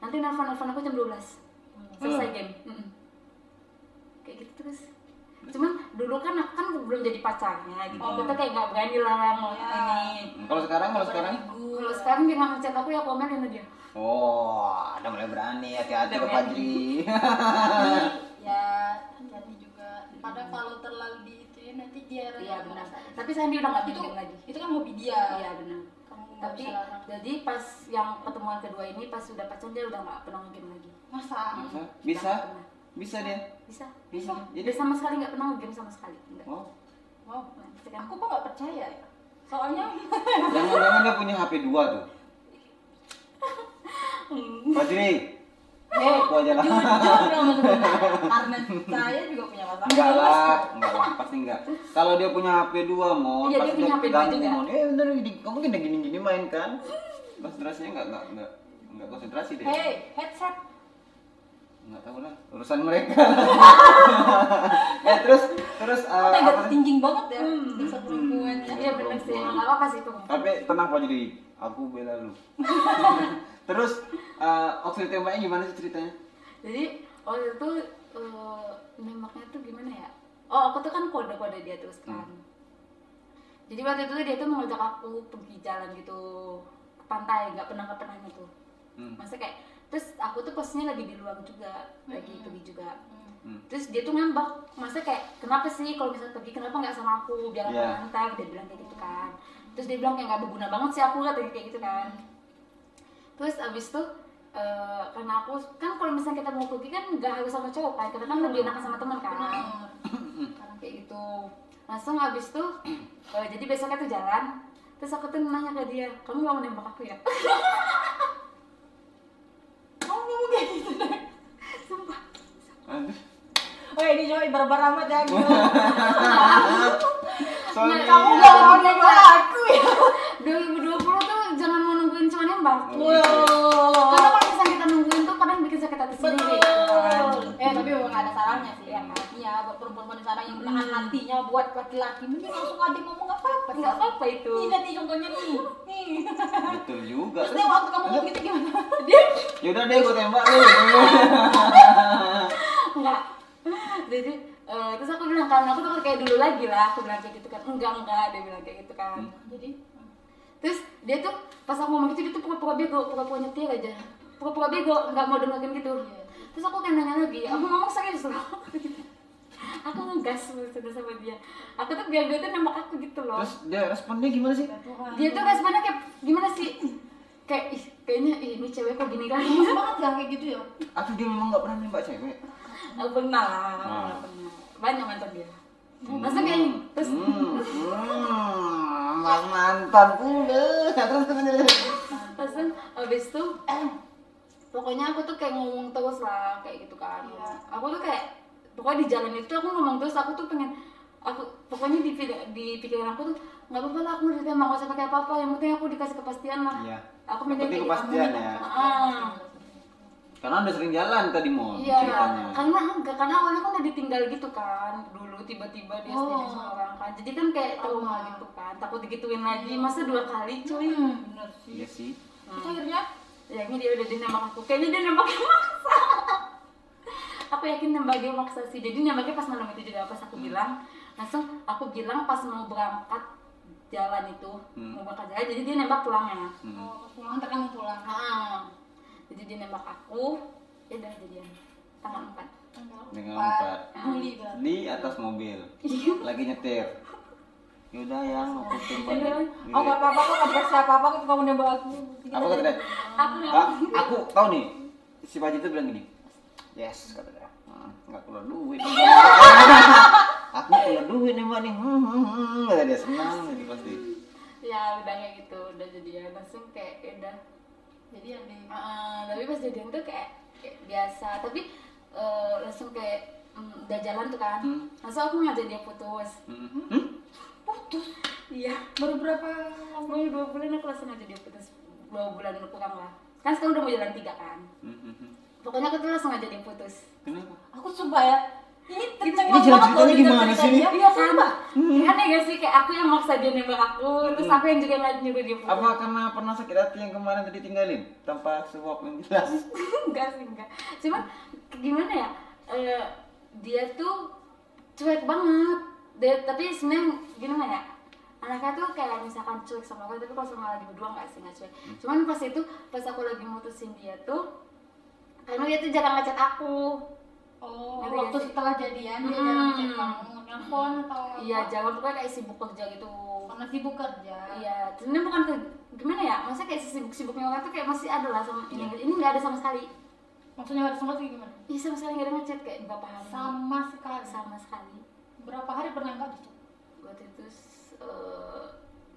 [SPEAKER 3] nanti nelfon nelfon aku jam 12 selesai
[SPEAKER 1] Hmm.
[SPEAKER 3] game Mm-mm. kayak gitu terus cuman dulu kan kan belum jadi pacarnya gitu
[SPEAKER 1] Hmm.
[SPEAKER 3] kita kayak nggak berani lah mau
[SPEAKER 4] Ya.
[SPEAKER 3] ini
[SPEAKER 1] Hmm, Kalau sekarang, kalau sekarang?
[SPEAKER 3] kalau sekarang dia nggak ngechat aku ya komen sama dia
[SPEAKER 1] Oh, ada mulai berani, hati-hati
[SPEAKER 3] Udah
[SPEAKER 1] Pak Fajri.
[SPEAKER 2] ya hati-hati juga padahal kalau terlalu di itu ya nanti dia
[SPEAKER 3] iya benar
[SPEAKER 2] merasa
[SPEAKER 3] tapi Sandi udah nggak
[SPEAKER 2] itu
[SPEAKER 3] bimbing lagi
[SPEAKER 2] itu kan hobi dia
[SPEAKER 3] iya benar
[SPEAKER 2] kamu nggak
[SPEAKER 3] tapi
[SPEAKER 2] bisa larang
[SPEAKER 3] jadi pas yang pertemuan kedua ini pas sudah pacaran dia udah nggak pernah game lagi
[SPEAKER 2] masa
[SPEAKER 1] Bisa?
[SPEAKER 3] Nggak
[SPEAKER 1] Bisa?
[SPEAKER 3] pernah.
[SPEAKER 1] Bisa dia?
[SPEAKER 3] bisa
[SPEAKER 1] Bisa.
[SPEAKER 3] dia
[SPEAKER 1] Jadi
[SPEAKER 3] sama sekali nggak pernah game sama sekali enggak
[SPEAKER 1] Oh,
[SPEAKER 2] wow
[SPEAKER 3] aku
[SPEAKER 2] aku kok nggak percaya ya
[SPEAKER 4] Soalnya
[SPEAKER 1] jangan-jangan dia punya HP 2 tuh.
[SPEAKER 3] Hmm.
[SPEAKER 1] Fajri. Eh, itu aja lah.
[SPEAKER 4] jujur dong sebenarnya. Karena saya juga punya masalah.
[SPEAKER 1] Enggak lah, enggak lah, pasti enggak. Kalau dia punya HP 2, mon,
[SPEAKER 3] Iya, dia
[SPEAKER 1] pasti
[SPEAKER 3] punya HP dua juga.
[SPEAKER 1] mon. Eh, bener, gini- kamu gini gini gini main kan? Konsentrasinya enggak enggak enggak enggak konsentrasi deh.
[SPEAKER 3] Eh,
[SPEAKER 4] Hey, headset.
[SPEAKER 1] Eh, Enggak tahu lah, urusan mereka. eh, terus terus eh,
[SPEAKER 4] Kok
[SPEAKER 1] apa Hmm.
[SPEAKER 4] tega
[SPEAKER 1] sih?
[SPEAKER 4] tinggi banget ya? Bisa perempuan
[SPEAKER 1] perempuan
[SPEAKER 4] ya.
[SPEAKER 3] iya benar sih emang nggak apa sih itu
[SPEAKER 1] Tapi tenang Fajri, aku bela lu. terus eh waktu tembaknya gimana sih ceritanya?
[SPEAKER 3] jadi waktu itu eh, nembaknya tuh gimana ya oh aku tuh kan kode kode dia terus kan jadi waktu itu tuh dia tuh mengajak aku pergi jalan gitu ke pantai nggak pernah nggak pernah gitu
[SPEAKER 1] Hmm.
[SPEAKER 3] maksudnya kayak terus aku tuh posnya lagi di luar juga lagi pergi juga
[SPEAKER 1] Hmm.
[SPEAKER 3] terus dia tuh ngambek masa kayak kenapa sih kalau misalnya pergi kenapa nggak sama aku biar aku
[SPEAKER 1] Iya.
[SPEAKER 3] ngantar dia bilang kayak gitu kan terus dia bilang kayak nggak berguna banget sih aku katanya kayak gitu kan terus abis itu eh, karena aku kan kalau misalnya kita mau pergi kan nggak harus sama cowok kan karena kan lebih enakan sama teman kan
[SPEAKER 2] benar
[SPEAKER 3] kayak gitu langsung abis itu eh, jadi besoknya tuh jalan terus aku tuh nanya ke dia kamu nggak mau nembak aku ya
[SPEAKER 4] Kamu ngomong kayak gitu deh.
[SPEAKER 3] sumpah
[SPEAKER 1] Aduh.
[SPEAKER 4] Oh ini cowok barbar amat ya. gila.
[SPEAKER 1] Soalnya
[SPEAKER 3] kamu
[SPEAKER 1] iya.
[SPEAKER 3] nggak mau
[SPEAKER 4] nembak aku ya.
[SPEAKER 3] 2020 tuh jangan mau nungguin cuma nembak
[SPEAKER 4] Wow.
[SPEAKER 3] Karena kalau misalnya kita nungguin tuh kadang bikin sakit hati sendiri. kan?
[SPEAKER 4] Betul. Eh tapi memang nggak ada salahnya sih ya. kan? Iya buat perempuan sekarang yang menahan
[SPEAKER 1] Hmm.
[SPEAKER 4] hatinya buat laki-laki mending langsung aja ngomong nggak apa-apa.
[SPEAKER 3] Enggak apa-apa itu.
[SPEAKER 4] Nih nanti contohnya nih. Nih.
[SPEAKER 1] Betul juga.
[SPEAKER 4] Terus dia waktu kamu
[SPEAKER 1] Iya.
[SPEAKER 4] ngomong gitu gimana?
[SPEAKER 3] Dia
[SPEAKER 1] Yaudah deh, gue tembak lu.
[SPEAKER 3] enggak. Jadi eh, terus aku bilang kan aku takut kayak dulu lagi lah aku bilang kayak gitu kan enggak enggak dia bilang kayak gitu kan
[SPEAKER 2] jadi
[SPEAKER 3] terus dia tuh pas aku ngomong gitu dia tuh pura-pura bego pura-pura nyetir aja pura-pura bego nggak mau dengerin gitu terus aku kayak nanya lagi aku ngomong serius loh aku ngegas maksudnya sama dia aku tuh biar dia tuh nembak aku gitu loh
[SPEAKER 1] Terus dia responnya gimana sih?
[SPEAKER 3] dia tuh responnya kayak gimana sih kayak ih, kayaknya ih, ini cewek kok gini kan
[SPEAKER 2] Gemes banget gak kayak gitu ya
[SPEAKER 1] Atau dia memang nggak pernah nembak cewek?
[SPEAKER 3] Oh, pernah lah,
[SPEAKER 1] Nah.
[SPEAKER 3] pernah. Banyak mantan dia.
[SPEAKER 1] Hmm.
[SPEAKER 3] Langsung kayak terus
[SPEAKER 1] Hmm, hmm, mas mantan pula. Terus terus terus.
[SPEAKER 3] langsung habis itu eh, pokoknya aku tuh kayak ngomong terus lah kayak gitu kan.
[SPEAKER 2] Iya.
[SPEAKER 3] Aku tuh kayak pokoknya di jalan itu aku ngomong terus aku tuh pengen aku pokoknya di, pi- di pikiran aku tuh nggak apa-apa lah aku mau ditembak nggak usah pakai apa-apa yang penting aku dikasih kepastian lah
[SPEAKER 1] Iya. Yang
[SPEAKER 3] aku
[SPEAKER 1] penting
[SPEAKER 3] kayak gitu.
[SPEAKER 1] kepastian ya.
[SPEAKER 3] Ah.
[SPEAKER 1] Karena udah sering jalan tadi mau
[SPEAKER 3] Iya,
[SPEAKER 1] ceritanya.
[SPEAKER 3] karena enggak karena awalnya kan udah ditinggal gitu kan dulu tiba-tiba dia sendiri sama orang kan. Jadi kan kayak trauma gitu kan, takut digituin lagi. Masa dua kali cuy.
[SPEAKER 4] Hmm.
[SPEAKER 3] Bener
[SPEAKER 1] Iya sih.
[SPEAKER 4] Terus akhirnya
[SPEAKER 3] Ya ini dia udah dia nembak aku. Kayaknya dia nembaknya maksa. aku yakin nembaknya maksa sih. Jadi nembaknya pas malam itu juga pas aku bilang langsung aku bilang pas mau berangkat jalan itu
[SPEAKER 1] Hmm.
[SPEAKER 3] mau berangkat jalan jadi dia nembak pulangnya
[SPEAKER 1] Hmm.
[SPEAKER 2] Oh, pulang antar kamu pulang.
[SPEAKER 3] ah jadi dia nembak aku ya udah jadian tanggal empat
[SPEAKER 1] Dengan
[SPEAKER 2] Empat.
[SPEAKER 1] empat
[SPEAKER 2] Juli berarti.
[SPEAKER 1] di atas mobil lagi nyetir. Yaudah ya, yang aku tempat.
[SPEAKER 4] Oh nggak apa-apa kok nggak percaya apa-apa kok kamu nembak aku.
[SPEAKER 1] Iya. Apa kata dia?
[SPEAKER 3] aku
[SPEAKER 1] Ah, aku tahu nih. Si Paji itu bilang gini. Yes, kata dia. Hmm, nggak keluar duit. aku keluar duit nih mbak nih. Hmm, hmm, hmm, kata dia senang gitu pasti.
[SPEAKER 3] ya udah kayak gitu udah jadian langsung kayak ya udah
[SPEAKER 2] Jadi ada yang
[SPEAKER 3] Eh, tapi pas jadian tuh kayak, kayak biasa tapi eh, langsung kayak mm, udah jalan tuh kan
[SPEAKER 1] Hmm.
[SPEAKER 3] langsung aku ngajak dia putus
[SPEAKER 1] Hmm. Hmm?
[SPEAKER 3] iya
[SPEAKER 4] Baru berapa?
[SPEAKER 3] baru dua bulan aku langsung ngajak dia putus dua bulan kurang lah kan sekarang udah mau jalan tiga kan
[SPEAKER 1] Hmm, hmm, hmm.
[SPEAKER 3] pokoknya aku tuh langsung ngajak dia putus
[SPEAKER 1] Kenapa?
[SPEAKER 4] Aku coba ya. Ini tercengang
[SPEAKER 1] Ini jalan
[SPEAKER 4] banget loh dengar
[SPEAKER 1] ceritanya gimana
[SPEAKER 4] cerita
[SPEAKER 1] sih ini?
[SPEAKER 4] dia.
[SPEAKER 3] iya kan aneh gak sih kayak aku yang maksa dia nembak aku terus aku yang juga ngajak nyuruh dia putus
[SPEAKER 1] Apa karena pernah sakit hati yang kemarin tadi tinggalin tanpa sebab yang jelas?
[SPEAKER 3] enggak sih enggak cuman gimana ya eh, dia tuh cuek banget dia tapi sebenarnya gimana ya anaknya tuh kayak misalkan cuek sama aku tapi kalau sama lagi berdua nggak sih nggak cuek cuman pas itu pas aku lagi mutusin dia tuh karena dia tuh jarang ngechat aku
[SPEAKER 2] Oh,
[SPEAKER 3] Ngerti
[SPEAKER 2] waktu
[SPEAKER 3] gak sih?
[SPEAKER 2] setelah jadian dia
[SPEAKER 3] Hmm.
[SPEAKER 2] jarang ngechat kamu, nelpon atau apa?
[SPEAKER 3] iya jawab pokoknya kayak sibuk kerja gitu
[SPEAKER 2] Karena sibuk kerja.
[SPEAKER 3] iya sebenarnya bukan ke gimana ya maksudnya kayak sibuk-sibuknya orang tuh kayak masih ada lah sama ini
[SPEAKER 2] Iya.
[SPEAKER 3] ini nggak ada sama sekali
[SPEAKER 2] Maksudnya harus sama sih gimana?
[SPEAKER 3] Ih, sama sekali nggak ada ngechat kayak berapa hari
[SPEAKER 2] Sama sekali.
[SPEAKER 3] sama sekali
[SPEAKER 2] Berapa hari pernah nggak dicek?
[SPEAKER 3] waktu itu s- eh,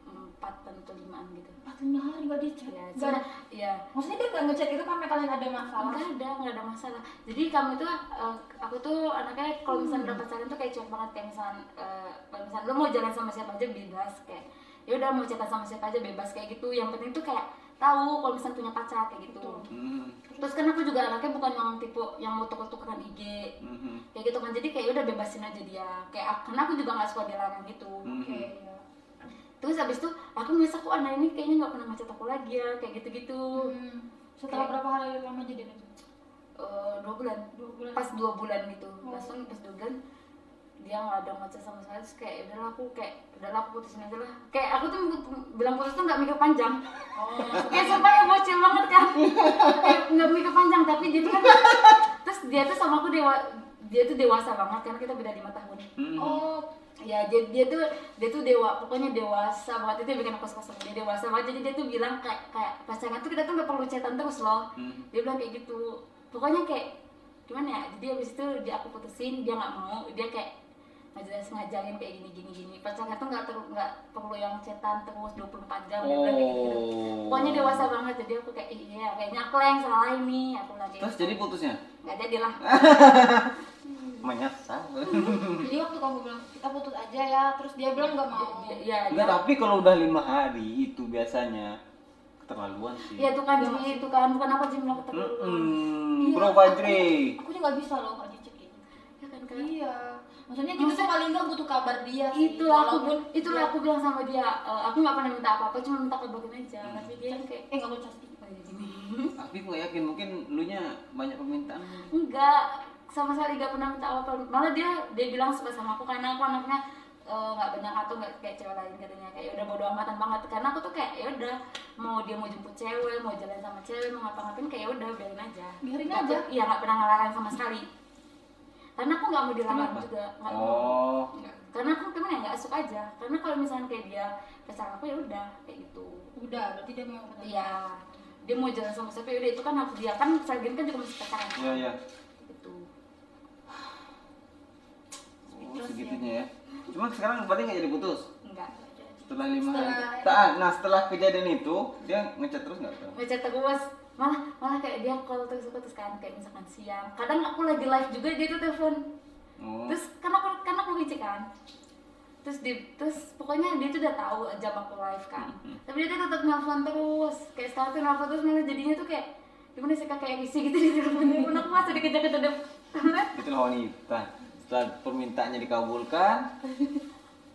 [SPEAKER 3] empat atau limaan gitu
[SPEAKER 2] Empat lima hari nggak dicek.
[SPEAKER 3] ya
[SPEAKER 2] Nggak
[SPEAKER 3] sudah
[SPEAKER 2] ada-
[SPEAKER 3] ya
[SPEAKER 2] Maksudnya dia nggak ngecek itu karena kalian ada masalah.
[SPEAKER 3] nggak ada kan nggak ada masalah jadi kamu tuh eh, aku tuh anaknya kalau misalnya udah pacaran tuh kayak cuek banget kayak misalnya eh, kalau misalnya lo mau jalan sama siapa aja bebas kayak ya udah mau cerita sama siapa aja bebas kayak gitu yang penting tuh kayak tahu kalau misalnya punya pacar kayak gitu
[SPEAKER 1] Hmm,
[SPEAKER 3] terus kan aku juga anaknya bukan yang tipe yang mau tuker-tukeran IG
[SPEAKER 1] hmm, hmm.
[SPEAKER 3] kayak gitu kan jadi kayak udah bebasin aja dia kayak karena aku juga nggak suka dilarang gitu
[SPEAKER 2] Oke,
[SPEAKER 1] Mhm.
[SPEAKER 2] iya.
[SPEAKER 3] terus habis itu aku ngerasa kok anak ini kayaknya nggak pernah ngechat aku lagi ya kayak gitu-gitu
[SPEAKER 2] Hmm. Setelah berapa hari lama jadian itu?
[SPEAKER 3] Eh, dua bulan
[SPEAKER 2] Dua bulan.
[SPEAKER 3] pas dua bulan gitu langsung pas dua bulan dia nggak ada ngechat sama sekali terus kayak "Ya udahlah aku kayak udahlah aku putusin aja lah kayak aku tuh mikir- bilang putus tuh nggak mikir panjang kayak sumpah ya bocil banget kan Kayak nggak mikir panjang tapi jadi kan terus dia tuh sama aku dewa dia tuh dewasa banget karena kita beda lima tahun
[SPEAKER 2] Oh,
[SPEAKER 3] ya dia, dia tuh dia tuh dewa pokoknya dewasa banget itu yang bikin aku suka sama dia dewasa banget jadi dia tuh bilang kayak kayak pasangan tuh kita tuh nggak perlu chatan terus loh
[SPEAKER 1] Hmm.
[SPEAKER 3] dia bilang kayak gitu pokoknya kayak gimana ya jadi abis itu dia aku putusin dia nggak mau dia kayak ngajarin ngajarin kayak gini gini gini pasangan tuh nggak perlu nggak perlu yang chatan terus 24 jam dia bilang kayak gitu
[SPEAKER 1] Oh.
[SPEAKER 3] pokoknya dewasa banget jadi aku kayak "Ih, iya kayaknya aku lah yang salah ini aku lagi
[SPEAKER 1] Terus jadi Eh? putusnya?
[SPEAKER 3] nggak jadi lah
[SPEAKER 1] Menyesal.
[SPEAKER 2] jadi waktu kamu bilang kita putus aja ya, terus dia bilang nggak mau.
[SPEAKER 3] Iya, iya
[SPEAKER 1] Enggak, Nah, tapi kalau udah lima hari itu biasanya keterlaluan sih.
[SPEAKER 3] Iya tuh kan Ji, itu kan bukan aku Ji bilang keterlaluan.
[SPEAKER 1] Hmm, Bro Fajri.
[SPEAKER 2] Iya, Aku juga nggak bisa loh kalau dicek kayak gitu.
[SPEAKER 3] Ya kan Kak?
[SPEAKER 2] Iya. Maksudnya kita tuh paling nggak butuh kabar dia sih.
[SPEAKER 3] itu lah aku
[SPEAKER 2] Walaupun
[SPEAKER 3] itu
[SPEAKER 2] dia-
[SPEAKER 3] aku bilang sama dia e, aku nggak pernah minta apa apa cuma minta kabarin aja tapi dia yang kayak
[SPEAKER 2] Eh nggak mau casting.
[SPEAKER 3] "Oh, ya gini."
[SPEAKER 1] Tapi gue yakin mungkin lu nya banyak permintaan.
[SPEAKER 3] enggak sama sekali nggak pernah minta apa apa malah dia dia bilang suka sama aku karena aku anaknya e, nggak banyak atau nggak kayak cewek lain katanya kayak "Ya udah bodo amatan banget karena aku tuh kayak ya udah mau dia mau jemput cewek mau jalan sama cewek mau ngapa-ngapain kayak "Ya udah biarin aja
[SPEAKER 2] Biarin
[SPEAKER 3] Nggak
[SPEAKER 2] aja.
[SPEAKER 3] per- iya nggak pernah ngelarang sama sekali karena aku nggak mau dilarang
[SPEAKER 1] Kenapa?
[SPEAKER 3] juga nggak mau
[SPEAKER 1] Oh.
[SPEAKER 3] Enggak. karena aku gimana ya nggak suka aja karena kalau misalnya kayak dia pacar aku ya udah kayak gitu
[SPEAKER 2] Udah, berarti dia memang benar.
[SPEAKER 3] iya dia mau jalan sama siapa ya udah itu kan aku dia kan sargen kan juga masih pacaran kan?
[SPEAKER 1] Iya, iya.
[SPEAKER 3] gitu
[SPEAKER 1] Oh, segitunya ya. Cuma sekarang berarti nggak jadi putus.
[SPEAKER 3] enggak
[SPEAKER 1] Setelah lima hari.
[SPEAKER 2] Setelah-
[SPEAKER 1] Ta- Nah, setelah kejadian itu dia ngechat terus nggak tuh?
[SPEAKER 3] ngechat terus malah malah kayak dia call terus aku terus kan kayak misalkan siang kadang aku lagi live juga dia tuh telepon
[SPEAKER 1] Oh.
[SPEAKER 3] terus kan aku kan aku ngecek kan terus di terus pokoknya dia tuh udah tahu jam aku live kan tapi dia tuh tetap nelfon terus kayak sekarang tuh nelfon terus malah jadinya tuh kayak gimana sih kakak yang isi gitu di teleponnya anak masa dikejar-kejar di toilet
[SPEAKER 1] Itulah wanita. Setelah permintaannya dikabulkan,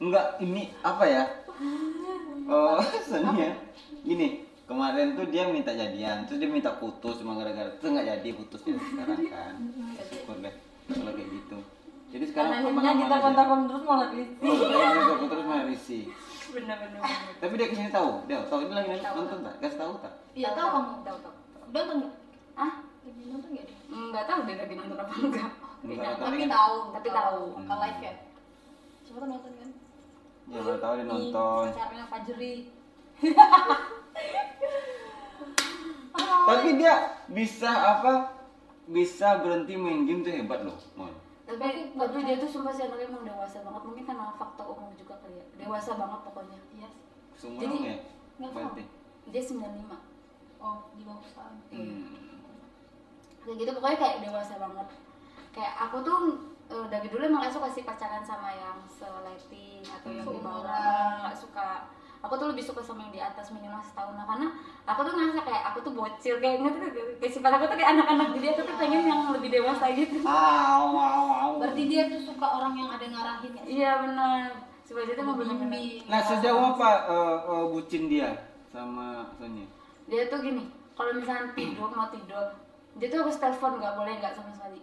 [SPEAKER 1] enggak ini apa ya? Oh, seni ya. Gini, kemarin tuh dia minta jadian, terus dia minta putus cuma gara-gara itu nggak jadi putus dia sekarang kan. Ya, Syukur deh kalau kayak gitu. Jadi sekarang
[SPEAKER 4] Karena akhirnya
[SPEAKER 1] aman-aman
[SPEAKER 4] kita
[SPEAKER 1] aja.
[SPEAKER 4] kontak-kontak terus malah risih.
[SPEAKER 1] Oh, dia minta terus malah risih.
[SPEAKER 3] bener-bener
[SPEAKER 1] Tapi dia kesini tahu, dia tahu ini lagi nonton tak? Kasih tahu tak?
[SPEAKER 2] Iya tahu kamu.
[SPEAKER 3] tahu tahu
[SPEAKER 2] Udah nonton nggak?
[SPEAKER 3] ah
[SPEAKER 2] Lagi nonton nggak dia?
[SPEAKER 3] Hmm, nggak tahu deh lagi nonton apa enggak
[SPEAKER 1] Enggak,
[SPEAKER 3] Kayaknya.
[SPEAKER 1] Tapi
[SPEAKER 2] Tapi tahu.
[SPEAKER 3] tapi tahu.
[SPEAKER 2] Ke live ya. Coba tuh nonton kan.
[SPEAKER 1] Ya baru tahu dia nonton.
[SPEAKER 4] Pacarnya Fajri.
[SPEAKER 1] Tapi dia bisa apa? Bisa berhenti main game tuh hebat loh, Mon.
[SPEAKER 3] tapi tapi dia tuh sumpah sih anaknya emang dewasa banget mungkin karena faktor umur juga kali ya dewasa banget pokoknya
[SPEAKER 2] Iya.
[SPEAKER 1] Seumuran
[SPEAKER 3] Jadi,
[SPEAKER 1] ya?
[SPEAKER 3] nggak tahu.
[SPEAKER 1] Berarti.
[SPEAKER 3] dia 95
[SPEAKER 2] Oh di bawah setahun.
[SPEAKER 1] Hmm.
[SPEAKER 3] kayak gitu pokoknya kayak dewasa banget kayak aku tuh eh, dari dulu emang gak suka sih pacaran sama yang seleting atau yang di bawah
[SPEAKER 2] Seumuran.
[SPEAKER 3] nggak suka aku tuh lebih suka sama yang di atas minimal setahun lah karena aku tuh ngerasa kayak aku tuh bocil kayaknya tuh kayak sifat aku tuh kayak anak-anak jadi aku tuh pengen yang lebih dewasa gitu
[SPEAKER 1] Aw, aw, aw.
[SPEAKER 2] Berarti dia tuh suka orang yang ada ngarahin ya.
[SPEAKER 3] iya benar sebenarnya tuh mau benar-benar
[SPEAKER 2] Bimbing.
[SPEAKER 1] Nah, sejauh apa eh, eh, bucin dia sama Sonya?
[SPEAKER 3] dia tuh gini kalau misalnya tidur mau tidur dia tuh harus telepon nggak boleh nggak sama sekali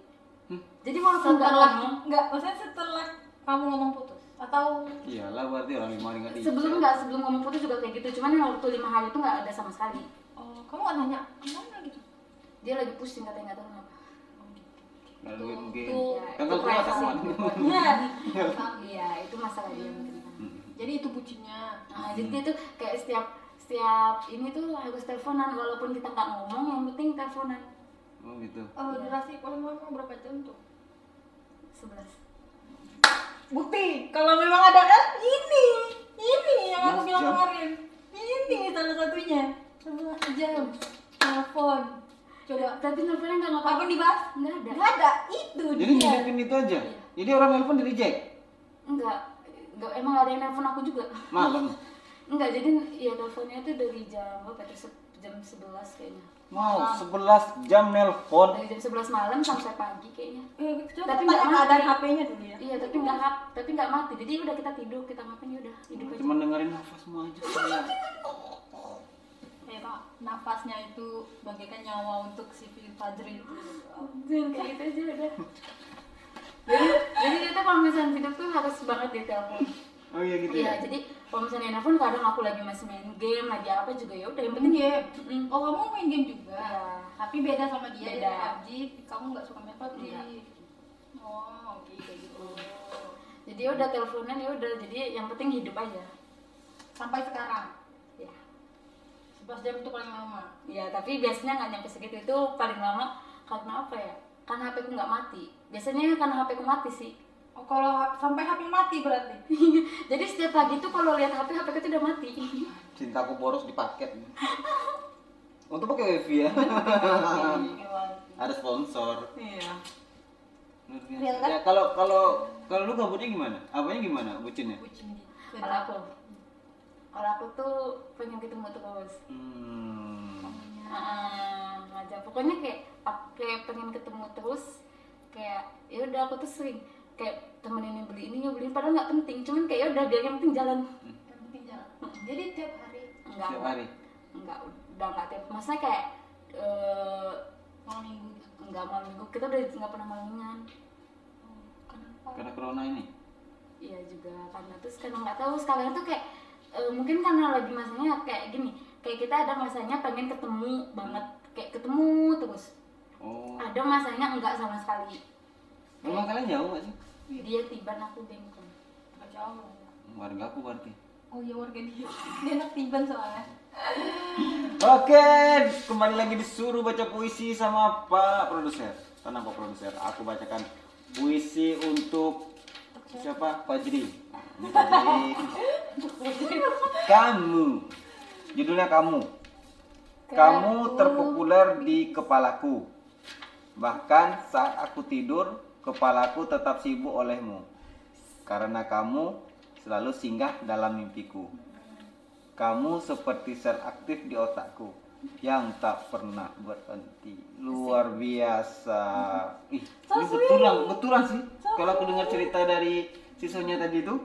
[SPEAKER 1] Hmm.
[SPEAKER 3] jadi walaupun nggak
[SPEAKER 4] Setelah
[SPEAKER 3] ngomong
[SPEAKER 4] enggak, maksudnya setelah kamu ngomong putus atau
[SPEAKER 1] Iyalah berarti orang lima orang nggak di-
[SPEAKER 3] sebelum nggak sebelum ngomong putus juga kayak gitu cuman yang waktu lima hari itu nggak ada sama sekali
[SPEAKER 2] Oh kamu nggak nanya kemana gitu?
[SPEAKER 3] dia lagi pusing katanya nggak tahu kenapa
[SPEAKER 1] Nggak duit mungkin.
[SPEAKER 2] tuh,
[SPEAKER 3] Ya,
[SPEAKER 1] Kan kalau
[SPEAKER 3] itu
[SPEAKER 1] keluar
[SPEAKER 3] privacy.
[SPEAKER 1] ketahuan.
[SPEAKER 4] ya
[SPEAKER 3] iya itu masalah dia mungkin
[SPEAKER 1] Hmm.
[SPEAKER 2] Jadi itu bucinnya.
[SPEAKER 3] nah, jadi dia tuh kayak setiap setiap ini tuh harus teleponan walaupun kita nggak ngomong yang penting teleponan
[SPEAKER 1] Oh gitu.
[SPEAKER 2] Oh,
[SPEAKER 3] iya.
[SPEAKER 2] durasi paling lama berapa jam tuh?
[SPEAKER 3] sebelas
[SPEAKER 4] bukti kalau memang ada eh, ini ini yang aku
[SPEAKER 1] Mas,
[SPEAKER 4] bilang
[SPEAKER 1] jam.
[SPEAKER 4] kemarin ini salah satunya
[SPEAKER 2] Sebelas jam.
[SPEAKER 4] telepon coba
[SPEAKER 3] tapi teleponnya nggak ngapa
[SPEAKER 4] apapun dibahas
[SPEAKER 3] nggak ada
[SPEAKER 4] nggak ada itu
[SPEAKER 1] Jadi
[SPEAKER 4] dia
[SPEAKER 1] ngidupin itu aja. Jadi orang telepon di reject.
[SPEAKER 3] nggak nggak emang ada yang nelfon aku juga
[SPEAKER 1] Malam.
[SPEAKER 3] nggak jadi ya teleponnya tuh dari jam berapa tuh Se- jam sebelas kayaknya
[SPEAKER 1] Mau 11 jam nelpon.
[SPEAKER 3] dari jam sebelas malam sampai pagi kayaknya
[SPEAKER 4] Eh, coba
[SPEAKER 3] Tapi
[SPEAKER 4] tapi
[SPEAKER 3] nggak
[SPEAKER 4] tanya keadaan
[SPEAKER 3] mati.
[SPEAKER 4] HP-nya dulu ya
[SPEAKER 3] Iya, tapi nggak hap- tapi nggak mati. Jadi udah kita tidur, kita ngapain ya udah hidup aja.
[SPEAKER 1] Cuman dengerin nafas semua aja.
[SPEAKER 4] ya pak nafasnya itu bagaikan nyawa untuk si Fajri itu
[SPEAKER 3] Jangan kayak gitu aja udah. jadi, jadi kita kalau misalnya tidur tuh harus banget di telepon.
[SPEAKER 1] Oh iya gitu
[SPEAKER 3] Iya,
[SPEAKER 1] ya.
[SPEAKER 3] jadi kalau misalnya nelfon kadang aku lagi masih main game, lagi apa juga ya udah yang penting
[SPEAKER 2] Iya.
[SPEAKER 3] Mm-mm.
[SPEAKER 2] Oh kamu main game juga?
[SPEAKER 3] Iya.
[SPEAKER 2] Tapi beda sama dia
[SPEAKER 3] Beda.
[SPEAKER 2] ya PUBG. Kamu nggak suka main PUBG?
[SPEAKER 3] Iya.
[SPEAKER 2] Oh oke kayak gitu.
[SPEAKER 3] Jadi ya udah teleponan ya udah jadi yang penting hidup aja.
[SPEAKER 2] Sampai sekarang
[SPEAKER 3] Ya.
[SPEAKER 2] 11 jam itu paling lama.
[SPEAKER 3] Ya, tapi biasanya nggak nyampe segitu itu paling lama karena apa ya? Karena HP ku nggak mati. Biasanya karena HP ku mati sih.
[SPEAKER 2] Oh kalau ha- sampai HP mati berarti?
[SPEAKER 3] jadi setiap pagi tuh kalau lihat HP HP ku tuh udah mati.
[SPEAKER 1] Cintaku boros di paket. Untuk pakai wifi ya.
[SPEAKER 2] Hmm.
[SPEAKER 1] Ada sponsor.
[SPEAKER 3] Iya.
[SPEAKER 1] Luar biasa. Ya kalau kalau kalau lu gabutnya gimana? Apanya gimana? Bucinnya?
[SPEAKER 2] Bucin gitu. dia.
[SPEAKER 3] Kalau aku, kalau aku tuh pengen ketemu terus.
[SPEAKER 1] Hmm.
[SPEAKER 3] Ah, ngajak. Pokoknya kayak aku kayak pengen ketemu terus. Kayak ya udah aku tuh sering kayak temenin yang beli ini, yang beli ini. padahal nggak penting. Cuman kayak ya udah biar yang penting jalan.
[SPEAKER 2] Yang penting jalan. Jadi tiap hari
[SPEAKER 3] Enggak.
[SPEAKER 1] Setiap hari.
[SPEAKER 3] Enggak, udah enggak tiap. Masa kayak eh
[SPEAKER 2] malam minggu gitu.
[SPEAKER 3] enggak malam minggu kita udah nggak pernah malaman.
[SPEAKER 2] Oh, Kenapa?
[SPEAKER 1] Karena corona ini.
[SPEAKER 3] Iya juga karena terus karena nggak tahu sekarang tuh kayak eh, mungkin karena lagi masanya kayak gini kayak kita ada masanya pengen ketemu banget kayak ketemu terus
[SPEAKER 1] Oh.
[SPEAKER 3] ada masanya enggak sama sekali
[SPEAKER 1] Rumah kalian jauh gak sih?
[SPEAKER 3] dia tiba aku bengkong
[SPEAKER 2] Nggak jauh.
[SPEAKER 1] Warga aku berarti.
[SPEAKER 2] Oh iya warga dia. Dia anak tiban soalnya.
[SPEAKER 1] Oke, kembali lagi disuruh baca puisi sama Pak Produser. Tenang Pak Produser, aku bacakan puisi untuk siapa? Fajri. Ini Fajri. kamu. Judulnya kamu. Kamu terpopuler di kepalaku. Bahkan saat aku tidur, kepalaku tetap sibuk olehmu. Karena kamu selalu singgah dalam mimpiku. Kamu seperti sel aktif di otakku. yang tak pernah berhenti luar biasa ih
[SPEAKER 4] So
[SPEAKER 1] ini betulan betulan sih kalau aku dengar cerita dari sisanya tadi itu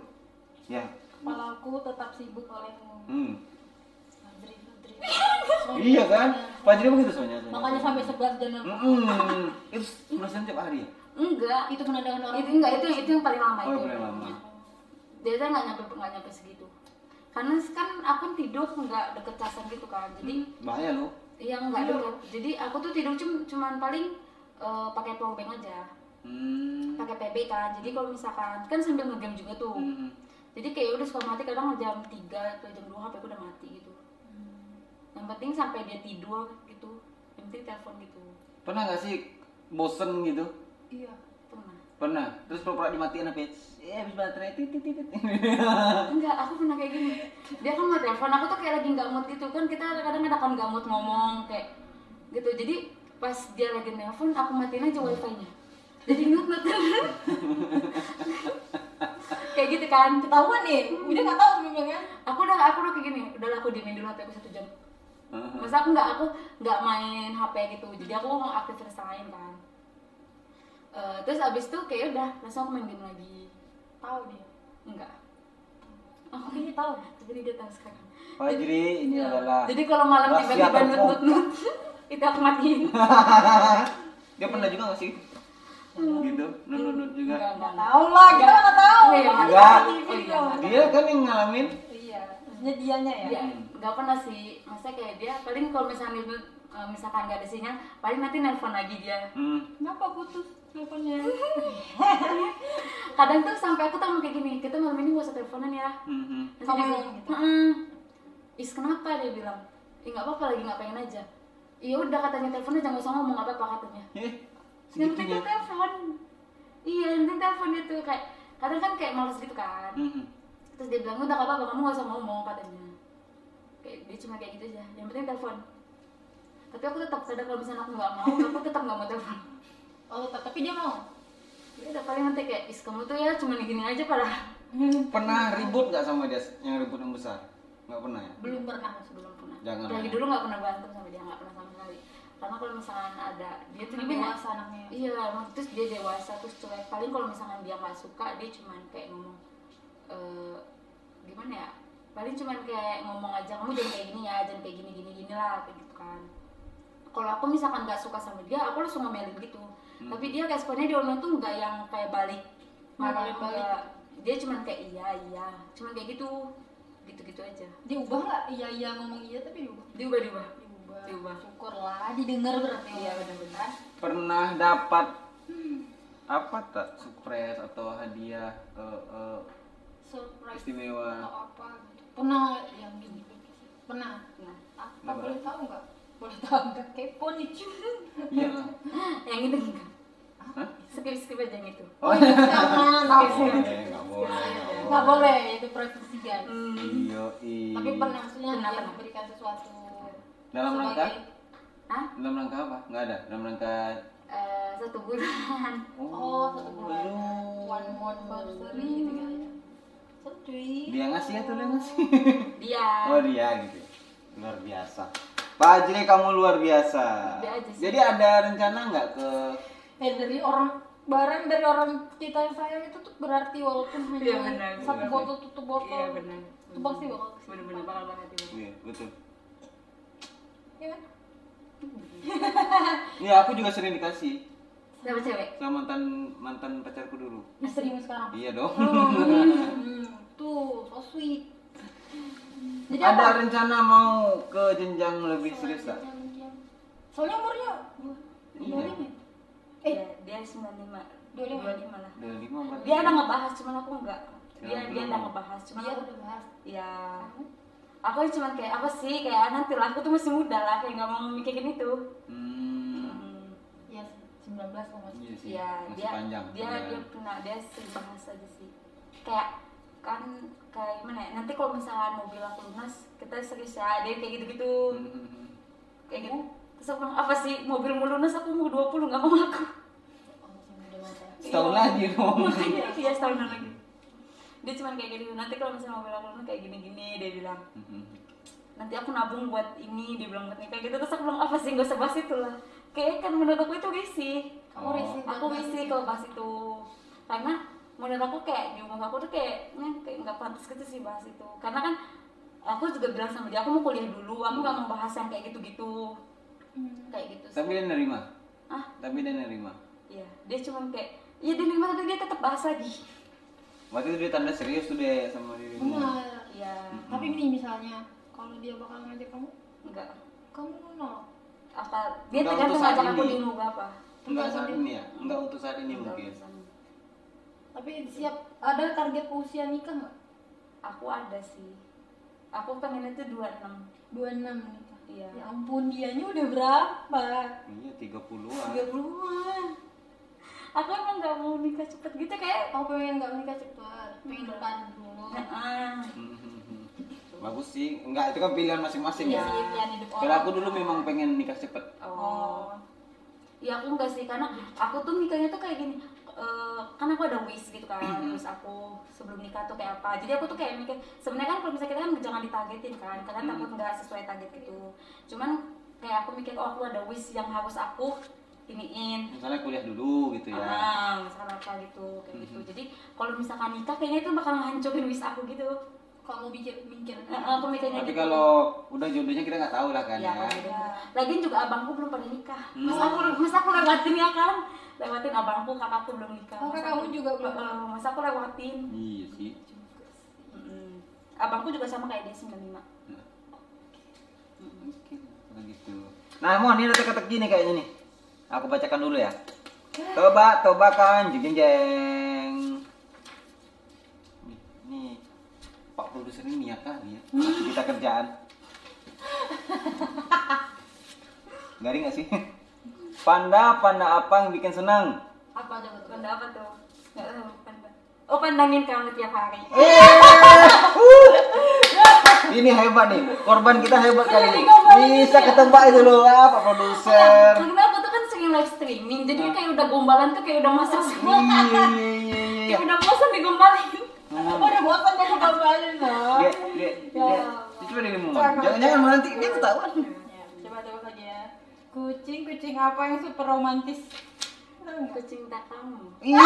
[SPEAKER 1] ya
[SPEAKER 4] Kepalaku tetap sibuk olehmu.
[SPEAKER 1] hmm.
[SPEAKER 2] Fadri, Fadri.
[SPEAKER 1] iya kan Fajri begitu soalnya
[SPEAKER 4] Oh. Makanya sampai 11 Januari.
[SPEAKER 1] Mm-mm. itu belasan tiap hari ya
[SPEAKER 3] enggak
[SPEAKER 2] Itu menandakan orang.
[SPEAKER 3] itu enggak itu itu yang paling lama
[SPEAKER 1] oh
[SPEAKER 3] itu
[SPEAKER 1] yang paling lama
[SPEAKER 3] dia tuh nggak nyampe nggak nyampe segitu karena kan aku tidur nggak deket casan gitu kan jadi
[SPEAKER 1] bahaya loh
[SPEAKER 3] yang nggak deket jadi aku tuh tidur cuma cuman paling eh, pakai power bank aja
[SPEAKER 1] hmm.
[SPEAKER 3] pakai PB kan jadi kalau misalkan kan sambil ngegame juga tuh
[SPEAKER 1] Hmm.
[SPEAKER 3] jadi kayak ya udah suka mati kadang jam 3 atau jam 2 HP aku udah mati gitu yang penting sampai dia tidur gitu yang penting telepon gitu
[SPEAKER 1] pernah nggak sih bosen gitu
[SPEAKER 2] Iya.
[SPEAKER 3] pernah
[SPEAKER 1] pernah terus pura-pura dimatiin apa ya eh habis baterai titit titit
[SPEAKER 3] enggak aku pernah kayak gini dia kan nggak telepon aku tuh kayak lagi nggak mood gitu kan kita kadang kadang kan nggak mood ngomong kayak gitu jadi pas dia lagi nelpon aku matiin aja wifi nya jadi nut nut kayak gitu kan
[SPEAKER 4] Ketahuan nih, udah nggak tahu memang kan?
[SPEAKER 3] aku udah aku udah kayak gini udah lah, aku diemin dulu hp aku satu jam masa aku nggak aku nggak main hp gitu jadi aku mau aktivitas yang lain kan Eh, terus abis itu kayak udah langsung aku main game lagi
[SPEAKER 2] Tahu dia.
[SPEAKER 3] enggak
[SPEAKER 4] Aku kayaknya tahu.
[SPEAKER 3] tapi dia datang sekarang
[SPEAKER 1] Fajri ini
[SPEAKER 3] Iya.
[SPEAKER 1] Oh, adalah
[SPEAKER 3] Jadi kalau malam
[SPEAKER 1] rahasia
[SPEAKER 3] tiba-tiba
[SPEAKER 1] terkuat.
[SPEAKER 3] nut nut nut itu aku matiin.
[SPEAKER 1] dia pernah juga nggak sih gitu nunut nut juga
[SPEAKER 3] Enggak, enggak, enggak.
[SPEAKER 4] Tahu lah, kita mana tahu.
[SPEAKER 3] Iya,
[SPEAKER 4] Makanya
[SPEAKER 1] enggak.
[SPEAKER 2] Oh,
[SPEAKER 4] kita TV
[SPEAKER 3] Iya.
[SPEAKER 4] dong.
[SPEAKER 1] dia kan yang ngalamin
[SPEAKER 4] Iya, maksudnya dianya ya.
[SPEAKER 2] Iya.
[SPEAKER 3] Dia enggak Iya, pernah sih. Maksudnya kayak dia paling kalau misalnya nut, eh, misalkan nggak ada sinyal, paling nanti nelpon lagi dia.
[SPEAKER 1] hmm.
[SPEAKER 2] Kenapa putus teleponnya?
[SPEAKER 3] Kadang tuh sampai aku tahu kayak gini, kita malam ini gak usah teleponan ya.
[SPEAKER 1] hmm, hmm.
[SPEAKER 3] Nanti
[SPEAKER 4] Kamu
[SPEAKER 3] dia
[SPEAKER 4] yang
[SPEAKER 3] bilang,
[SPEAKER 4] gitu?
[SPEAKER 3] "Mm-mm." Is kenapa dia bilang? Ya nggak apa-apa lagi nggak pengen aja. Iya udah katanya teleponnya jangan usah ngomong apa apa katanya.
[SPEAKER 1] eh
[SPEAKER 3] Yang penting
[SPEAKER 1] segitunya
[SPEAKER 3] tuh telepon. Iya yang penting telepon itu kayak kadang kan kayak malas gitu kan.
[SPEAKER 1] Hmm, hmm.
[SPEAKER 3] terus dia bilang udah gak apa-apa kamu gak usah ngomong katanya kayak dia cuma kayak gitu aja yang penting telepon tapi aku tetap kadang kalau misalnya aku nggak mau aku tetap nggak mau telepon
[SPEAKER 2] Oh, ta- tapi dia mau.
[SPEAKER 3] ya udah paling nanti kayak is kamu tuh ya cuma gini aja parah
[SPEAKER 1] pernah ribut nggak sama dia yang ribut yang besar nggak pernah ya
[SPEAKER 2] Belum pernah.
[SPEAKER 3] sebelum pernah
[SPEAKER 1] Jangan.
[SPEAKER 3] dari dulu nggak pernah berantem sama dia nggak pernah sama sekali karena kalau misalkan ada dia tuh
[SPEAKER 2] Lebih
[SPEAKER 3] dewasa
[SPEAKER 2] dewasa anaknya.
[SPEAKER 3] iya emang. terus dia dewasa terus cuek paling kalau misalkan dia nggak suka dia cuma kayak ngomong eh gimana ya paling cuma kayak ngomong aja kamu jangan kayak gini ya jangan kayak gini gini gini lah kayak gitu kan kalau aku misalkan nggak suka sama dia aku langsung ngomelin gitu tapi dia responnya di online tuh nggak yang kayak balik marah
[SPEAKER 2] Nggak balik-balik.
[SPEAKER 3] nggak. dia cuma kayak iya iya cuma kayak gitu gitu gitu aja
[SPEAKER 2] Dia ubah nggak? Iya iya ngomong iya tapi diubah.
[SPEAKER 3] diubah diubah
[SPEAKER 2] Diubah.
[SPEAKER 3] Diubah.
[SPEAKER 2] Syukurlah didengar berarti. ya.
[SPEAKER 3] Iya,
[SPEAKER 2] orang.
[SPEAKER 3] benar-benar.
[SPEAKER 1] pernah dapat
[SPEAKER 3] Hmm.
[SPEAKER 1] apa tak surprise atau hadiah eh, eh,
[SPEAKER 2] Surprise atau
[SPEAKER 1] istimewa
[SPEAKER 2] apa gitu. Pernah nggak yang gini? Pernah.
[SPEAKER 3] nah
[SPEAKER 2] Apa
[SPEAKER 1] Nggak
[SPEAKER 2] boleh tahu nggak? Boleh tahu nggak? Kepo nih cuy.
[SPEAKER 1] iya lah
[SPEAKER 3] yang itu enggak
[SPEAKER 1] Hah?
[SPEAKER 3] skip skip aja yang itu
[SPEAKER 1] oh iya
[SPEAKER 2] Jangan.
[SPEAKER 1] nggak boleh nggak boleh
[SPEAKER 2] Nggak boleh itu privacy guys.
[SPEAKER 1] iya iya.
[SPEAKER 2] Tapi pernah maksudnya
[SPEAKER 3] Pernah,
[SPEAKER 2] dia
[SPEAKER 3] pernah.
[SPEAKER 2] memberikan sesuatu
[SPEAKER 1] Dalam rangka?
[SPEAKER 3] Hah?
[SPEAKER 1] dalam rangka apa nggak ada dalam rangka
[SPEAKER 3] Eh, satu bulan
[SPEAKER 2] oh satu bulan
[SPEAKER 1] lu.
[SPEAKER 2] one month anniversary gitu kan ya. Sedih.
[SPEAKER 1] dia ngasih atau lu yang ngasih
[SPEAKER 3] dia
[SPEAKER 1] oh dia gitu luar biasa Pak Ajri kamu luar biasa
[SPEAKER 3] Dia aja sih.
[SPEAKER 1] jadi ada rencana nggak ke
[SPEAKER 4] Eh dari orang barang dari orang kita yang sayang itu tuh berarti walaupun
[SPEAKER 3] Iya,
[SPEAKER 4] hanya
[SPEAKER 3] benar,
[SPEAKER 4] satu
[SPEAKER 1] benar.
[SPEAKER 4] botol tutup botol.
[SPEAKER 3] iya benar
[SPEAKER 4] Itu pasti bakal kesimpan.
[SPEAKER 3] benar-benar bakal banget itu
[SPEAKER 1] Iya, betul
[SPEAKER 4] Iya kan?
[SPEAKER 1] Iya, aku juga sering dikasih
[SPEAKER 3] siapa cewek
[SPEAKER 1] sama mantan mantan pacarku dulu.
[SPEAKER 4] Istrimu sekarang.
[SPEAKER 1] Iya dong.
[SPEAKER 2] Hmm,
[SPEAKER 4] Tuh, so sweet. Jadi
[SPEAKER 1] Ada
[SPEAKER 4] apa?
[SPEAKER 1] rencana mau ke jenjang lebih serius tak?
[SPEAKER 4] Soalnya umurnya
[SPEAKER 1] Iya.
[SPEAKER 4] Eh.
[SPEAKER 3] Dia- Iya, dia sembilan lima
[SPEAKER 2] 25.
[SPEAKER 3] lah Iya.
[SPEAKER 1] Udah lima berarti.
[SPEAKER 3] dia ada ngebahas cuman aku enggak dia
[SPEAKER 1] Jangan
[SPEAKER 3] dia
[SPEAKER 1] belum.
[SPEAKER 3] ada ngebahas cuman
[SPEAKER 2] dia
[SPEAKER 3] aku
[SPEAKER 2] udah bahas
[SPEAKER 3] ya aku cuman kayak apa sih kayak nanti lah aku tuh masih muda lah kayak nggak mau mikirin itu
[SPEAKER 1] Hmm.
[SPEAKER 3] Hmm,
[SPEAKER 4] Iya,
[SPEAKER 2] ya 19 lah masih
[SPEAKER 1] Iya sih.
[SPEAKER 3] ya
[SPEAKER 1] Masih
[SPEAKER 3] dia
[SPEAKER 1] panjang. iya.
[SPEAKER 3] dia
[SPEAKER 1] Ada-
[SPEAKER 3] dia pernah dia sih bahas aja sih kayak kan kayak gimana ya nanti kalau misalnya mobil aku lunas kita serius ya dia kayak gitu gitu
[SPEAKER 1] Hmm, hmm, hmm.
[SPEAKER 3] kayak gitu terus aku bilang apa sih mobil mau lunas aku mau 20 nggak mau aku Iya.
[SPEAKER 2] oh, masih muda banget ya.
[SPEAKER 1] Setahun lagi dong.
[SPEAKER 3] makanya dia setahunan
[SPEAKER 1] hmm,
[SPEAKER 3] lagi dia cuma kayak gitu nanti kalau misalnya mobil aku lunas kayak gini gini dia bilang nanti aku nabung buat ini dia bilang buat nikah gitu terus aku bilang apa sih gak usah bahas itu lah kayak kan menurut aku itu risih
[SPEAKER 2] Kamu
[SPEAKER 1] Oh.
[SPEAKER 2] risih
[SPEAKER 3] aku risih kalau bahas itu karena menurut aku kayak di umur aku tuh kayaknya kayak nggak pantas gitu sih bahas itu karena kan aku juga bilang sama dia aku mau kuliah dulu aku nggak mau bahas yang kayak gitu-gitu
[SPEAKER 4] Hmm.
[SPEAKER 3] kayak gitu sih
[SPEAKER 1] Tapi dia nerima.
[SPEAKER 3] ah
[SPEAKER 1] Tapi dia nerima.
[SPEAKER 3] iya dia cuman kayak iya dia nerima tapi dia tetap bahas lagi
[SPEAKER 1] Waktu itu dia tanda serius tuh deh sama dirinya.
[SPEAKER 2] Benar.
[SPEAKER 3] iya
[SPEAKER 2] Tapi ini misalnya kalau dia bakal ngajak kamu,
[SPEAKER 3] enggak
[SPEAKER 2] kamu nolak.
[SPEAKER 3] apa
[SPEAKER 1] Enggak
[SPEAKER 3] dia
[SPEAKER 1] untuk
[SPEAKER 3] tergantung
[SPEAKER 1] saat
[SPEAKER 3] ngajak aku
[SPEAKER 1] ini.
[SPEAKER 3] di nunggu apa
[SPEAKER 1] Enggak saat ini ya, enggak untuk saat ini
[SPEAKER 3] Enggak
[SPEAKER 1] mungkin.
[SPEAKER 3] urusan.
[SPEAKER 2] Tapi siap ada target usia nikah nggak?
[SPEAKER 3] aku ada sih aku pengennya tuh 26
[SPEAKER 2] 26 nikah.
[SPEAKER 3] iya
[SPEAKER 2] Ya ampun, dianya udah berapa?
[SPEAKER 1] Iya, 30-an.
[SPEAKER 2] 30-an.
[SPEAKER 3] aku emang nggak mau nikah cepet gitu kayak
[SPEAKER 2] Aku pengen nggak menikah cepat, pengen bertahan dulu.
[SPEAKER 3] Heeh.
[SPEAKER 1] Mhm. Bagus sih. Enggak, itu kan pilihan masing-masing
[SPEAKER 2] Iya
[SPEAKER 1] ya.
[SPEAKER 2] sih, pilihan hidup
[SPEAKER 1] Kalau
[SPEAKER 2] orang.
[SPEAKER 1] aku dulu memang pengen nikah cepet.
[SPEAKER 3] Oh. Ya aku enggak sih karena aku tuh nikahnya tuh kayak gini. eh, kan aku ada wish gitu kan terus aku sebelum nikah tuh kayak apa jadi aku tuh kayak mikir sebenarnya kan kalau misalnya kita kan jangan ditargetin kan karena
[SPEAKER 1] Hmm.
[SPEAKER 3] takut nggak sesuai target gitu cuman kayak aku mikir oh aku ada wish yang harus aku iniin
[SPEAKER 1] Misalnya kuliah dulu gitu ya.
[SPEAKER 3] ah misalnya apa gitu kayak
[SPEAKER 1] Hmm.
[SPEAKER 3] gitu jadi kalau misalkan nikah kayaknya itu bakal hancurin wish aku gitu
[SPEAKER 2] Kamu mikir mikir.
[SPEAKER 3] Eh, eh, aku mikirnya
[SPEAKER 1] Tapi
[SPEAKER 3] gitu.
[SPEAKER 1] kalau udah jodohnya kita nggak tahu lah kan
[SPEAKER 3] Ya,
[SPEAKER 1] ya.
[SPEAKER 3] Lagian juga abangku belum pada nikah. Mas
[SPEAKER 1] Hmm.
[SPEAKER 3] aku mas aku lewatin ya kan. Lewatin abangku, kakakku belum nikah.
[SPEAKER 2] Oh,
[SPEAKER 3] Mas
[SPEAKER 2] kakakmu
[SPEAKER 3] aku-
[SPEAKER 2] juga belum?
[SPEAKER 3] Eh, Mas aku lewatin.
[SPEAKER 1] Iya sih.
[SPEAKER 3] Mm-mm. Abangku juga sama kayak dia 95.
[SPEAKER 1] Hmm, Begitu. Nah, Mon, ini ada teka-teki nih kayaknya nih. Aku bacakan dulu ya. Toba, kan, tobakan, jeng jeng. Nih, Pak produser ini niat kali ya. Kita kerjaan. Garing gak sih? Panda, panda apa yang bikin senang?
[SPEAKER 2] Apa aja betul?
[SPEAKER 3] Panda apa tuh? Nggak tahu, panda. Oh, pandangin kamu tiap hari.
[SPEAKER 1] Oh, iya. Eh. Ini hebat nih, korban kita hebat kali ini. Iya.
[SPEAKER 3] ngomongin
[SPEAKER 1] Bisa ketebak itu loh, ah, Pak produser.
[SPEAKER 3] Karena aku tuh kan sering live streaming, jadi kayak udah gombalan tuh kayak udah masuk semua.
[SPEAKER 1] Iya, iya, iya, iya, iya.
[SPEAKER 3] Kayak udah bosan digombalin.
[SPEAKER 1] Ngomong.
[SPEAKER 2] Udah bosan dari kabarnya loh.
[SPEAKER 1] Iya, dia dia dia coba dia ngomong jangan jangan malah nanti dia ketahuan
[SPEAKER 2] Ya, Coba coba lagi ya. Kucing kucing apa yang super romantis? Tahu nggak?
[SPEAKER 3] Aku cinta kamu.
[SPEAKER 1] iya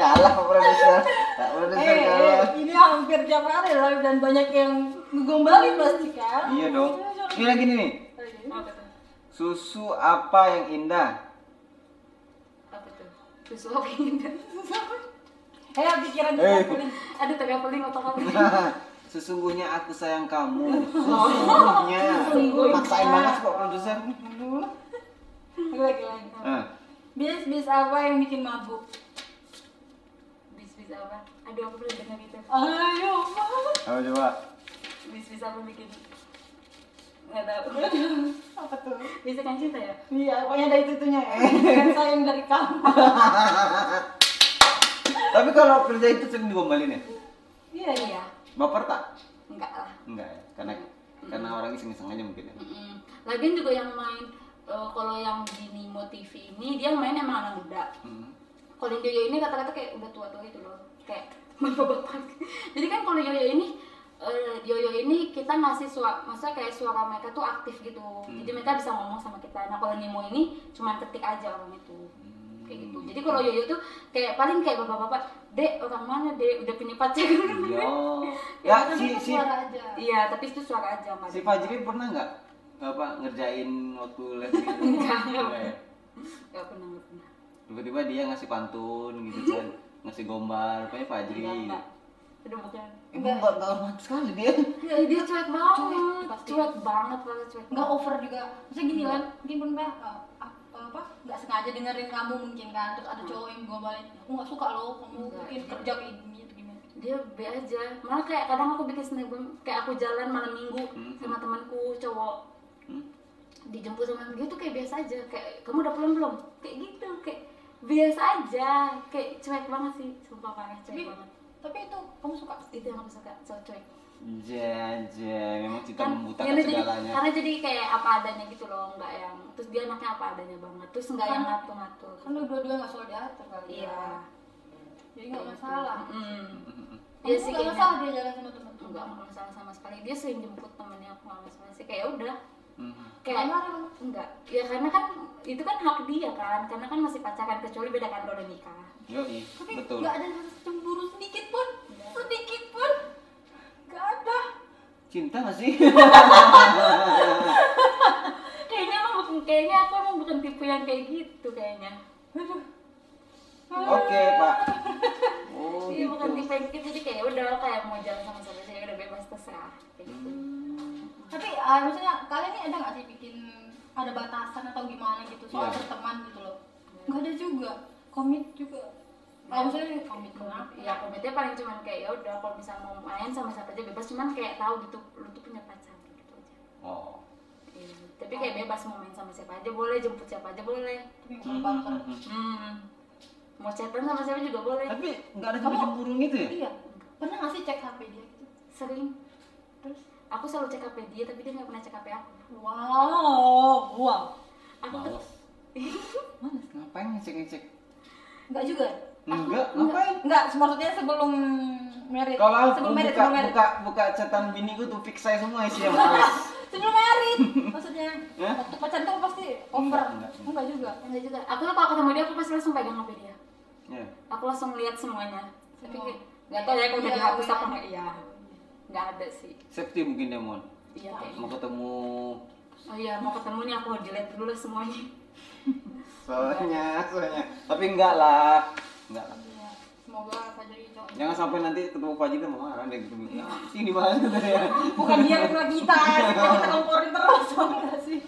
[SPEAKER 1] kalah pak produser pak produser
[SPEAKER 2] Eh, eh,
[SPEAKER 1] kalah
[SPEAKER 2] ini hampir tiap hari live dan banyak yang ngegombalin pasti kan?
[SPEAKER 1] iya dong ini lagi nih nih.
[SPEAKER 3] Apa tuh?
[SPEAKER 1] susu apa yang indah
[SPEAKER 3] Apa tuh? Susu apa yang indah?
[SPEAKER 2] Eh, pikiran
[SPEAKER 1] Eh.
[SPEAKER 2] kita kulit.
[SPEAKER 3] Ada traveling atau apa?
[SPEAKER 1] sesungguhnya aku sayang kamu sesungguhnya maksain banget sih, pak produser
[SPEAKER 2] Lagi lagi lagi.
[SPEAKER 1] Eh,
[SPEAKER 2] Bis bis apa yang bikin mabuk?
[SPEAKER 3] bis-bis apa? Aduh aku belum dengar itu.
[SPEAKER 2] Ayo,
[SPEAKER 1] apa coba
[SPEAKER 3] Bis-bis apa bikin? Nggak tahu.
[SPEAKER 2] apa tuh?
[SPEAKER 3] Bisa kan cinta ya?
[SPEAKER 2] Iya, pokoknya ada itu tunya ya. Kan sayang dari kamu.
[SPEAKER 1] tapi kalau kerja itu sering digombalin ya
[SPEAKER 2] Iya iya.
[SPEAKER 3] Iya.
[SPEAKER 1] baper tak
[SPEAKER 3] Enggak lah.
[SPEAKER 1] enggak ya karena karena orang iseng-iseng aja mungkin ya
[SPEAKER 3] Mm-mm. Lagian juga yang main eh, kalau yang di Nimo TV ini dia yang main emang anak muda.
[SPEAKER 1] Hmm.
[SPEAKER 3] Kalau yang Yoyo ini kata-kata kayak udah tua-tua gitu loh. Kayak bapak-bapak. Jadi kan kalau Yoyo ini eh, Yoyo ini kita ngasih suara, maksudnya kayak suara mereka tuh aktif gitu. Jadi mereka bisa ngomong sama kita. Nah kalau Nimo ini cuman ketik aja orang itu. kayak gitu. Jadi kalau Yoyo tuh kayak paling kayak bapak-bapak, dek orang mana dek udah punya pacar.
[SPEAKER 1] Iya. Ya, si si
[SPEAKER 2] Suara aja.
[SPEAKER 3] Iya, tapi itu suara aja nggak
[SPEAKER 1] si
[SPEAKER 3] ada.
[SPEAKER 1] Fajri pernah nggak apa ngerjain waktu les gitu?
[SPEAKER 3] Enggak.
[SPEAKER 1] Enggak ya?
[SPEAKER 3] Nggak pernah nggak pernah.
[SPEAKER 1] Tiba-tiba dia ngasih pantun gitu kan, ngasih gombal, rupanya Fajri. gitu.
[SPEAKER 3] Enggak, enggak. Aduh bukan.
[SPEAKER 1] Emang nggak nggak hormat sekali dia.
[SPEAKER 3] Ih, Iya, dia cuek banget,
[SPEAKER 2] Cuek, pasti.
[SPEAKER 3] cuek banget banget cuek.
[SPEAKER 2] nggak over juga maksudnya gini kan mungkin pernah eh, ap- apa nggak sengaja dengerin kamu mungkin kan terus ada cowok yang gue balik aku nggak suka loh kamu
[SPEAKER 3] Enggak.
[SPEAKER 2] bikin kerja kayak gini atau gimana
[SPEAKER 3] Dia be aja. Malah kayak kadang aku bikin snapgram kayak aku jalan malam minggu
[SPEAKER 1] Hmm.
[SPEAKER 3] sama temanku cowok
[SPEAKER 1] Hmm.
[SPEAKER 3] dijemput sama dia tuh kayak biasa aja kayak kamu udah pulang belum kayak gitu kayak biasa aja kayak cuek banget sih sumpah parah cuek
[SPEAKER 2] tapi
[SPEAKER 3] banget
[SPEAKER 2] tapi itu kamu suka
[SPEAKER 3] itu yang aku suka so cuek
[SPEAKER 1] Jaja, Iya, memang cinta
[SPEAKER 3] Kan,
[SPEAKER 1] membutakan
[SPEAKER 3] karena jadi,
[SPEAKER 1] segalanya.
[SPEAKER 3] karena jadi kayak apa adanya gitu loh nggak yang terus dia anaknya apa adanya banget terus nggak yang Iya. ngatur ngatur
[SPEAKER 2] kan lu dua-dua nggak suka diatur kali ya
[SPEAKER 3] iya
[SPEAKER 2] jadi nggak masalah
[SPEAKER 3] Mm. dia
[SPEAKER 2] Kamu
[SPEAKER 3] sih
[SPEAKER 2] nggak
[SPEAKER 3] kayaknya
[SPEAKER 2] masalah dia jalan sama teman-teman.
[SPEAKER 3] enggak enggak masalah sama sekali dia sering jemput temennya aku nggak masalah sih kayak ya udah
[SPEAKER 1] Mhm.
[SPEAKER 3] kayak
[SPEAKER 2] Nggak marah, Bang.
[SPEAKER 3] enggak ya karena kan itu kan hak dia kan karena kan masih pacaran kecuali beda kan udah nikah
[SPEAKER 1] Yoi,
[SPEAKER 2] Tapi
[SPEAKER 1] betul.
[SPEAKER 2] nggak ada rasa cemburu sedikit pun,
[SPEAKER 3] Iya.
[SPEAKER 2] sedikit pun. Gak ada.
[SPEAKER 1] Cinta gak sih?
[SPEAKER 3] kayaknya emang bukan kayaknya aku emang bukan tipe yang kayak gitu kayaknya
[SPEAKER 2] Ah,
[SPEAKER 1] Oke, Pak. Oh,
[SPEAKER 3] iya bukan
[SPEAKER 1] gitu.
[SPEAKER 3] tipe yang gitu jadi kayak udah kayak mau jalan sama siapa sih ya udah bebas terserah kayak gitu
[SPEAKER 1] Hmm.
[SPEAKER 2] Tapi eh, maksudnya kalian ini ada nggak sih bikin ada batasan atau gimana gitu soal
[SPEAKER 1] Iya.
[SPEAKER 2] berteman gitu loh?
[SPEAKER 3] Iya.
[SPEAKER 2] Nggak ada juga. Komit juga. Kalau misalnya komit
[SPEAKER 3] komitmen ya komitnya paling cuman kayak ya udah kalau misalnya mau main sama siapa aja bebas cuman kayak tahu gitu lu tuh punya pacar gitu aja
[SPEAKER 1] Oh.
[SPEAKER 3] Iya, tapi kayak bebas mau main sama siapa aja boleh jemput siapa aja boleh
[SPEAKER 2] Tapi
[SPEAKER 1] Mhm,
[SPEAKER 2] bakar.
[SPEAKER 1] mhm.
[SPEAKER 3] hmm. mau chatan sama siapa juga boleh
[SPEAKER 1] Tapi nggak ada cemburu gitu ya?
[SPEAKER 2] Iya. Pernah nggak sih cek HP dia? gitu?
[SPEAKER 3] sering
[SPEAKER 2] Terus?
[SPEAKER 3] aku selalu cek HP dia tapi dia nggak pernah cek HP aku
[SPEAKER 2] Wow, wow.
[SPEAKER 3] aku tuh
[SPEAKER 1] Males. Males ngapain ngecek-ngecek?
[SPEAKER 2] Nggak juga.
[SPEAKER 1] Enggak, ngapain?
[SPEAKER 2] Nggak, maksudnya sebelum merit.
[SPEAKER 1] Kalau aku
[SPEAKER 2] sebelum merit,
[SPEAKER 1] buka,
[SPEAKER 2] sebelum merit.
[SPEAKER 1] buka, buka catatan bini gue tuh fix saya semua isinya males.
[SPEAKER 2] Sebelum merit. Maksudnya
[SPEAKER 1] Hah?
[SPEAKER 2] waktu pacaran tuh pasti over.
[SPEAKER 1] Enggak, enggak, enggak.
[SPEAKER 2] Enggak juga.
[SPEAKER 3] enggak juga aku tuh kalau ketemu dia aku pasti langsung pegang HP dia
[SPEAKER 1] ya.
[SPEAKER 3] aku langsung lihat semuanya tapi
[SPEAKER 2] Semua.
[SPEAKER 3] kayak nggak tahu ya aku udah
[SPEAKER 2] Iya,
[SPEAKER 3] dihapus
[SPEAKER 2] iya.
[SPEAKER 3] apa nggak iya nggak ada sih
[SPEAKER 1] Safety mungkin Demon.
[SPEAKER 3] iya kayaknya
[SPEAKER 1] Mau ketemu
[SPEAKER 3] oh iya mau ketemu nih aku delete dulu lah semuanya
[SPEAKER 1] soalnya, soalnya. Tapi enggak lah. Enggak lah.
[SPEAKER 2] Iya. Semoga saja jadi cowok.
[SPEAKER 1] Jangan sampai nanti ketemu Pak Jika mau marah deh ketemu. Ya, sini banget tadi ya.
[SPEAKER 2] Bukan dia kedua kita ya, kita kita komporin terus. Enggak sih.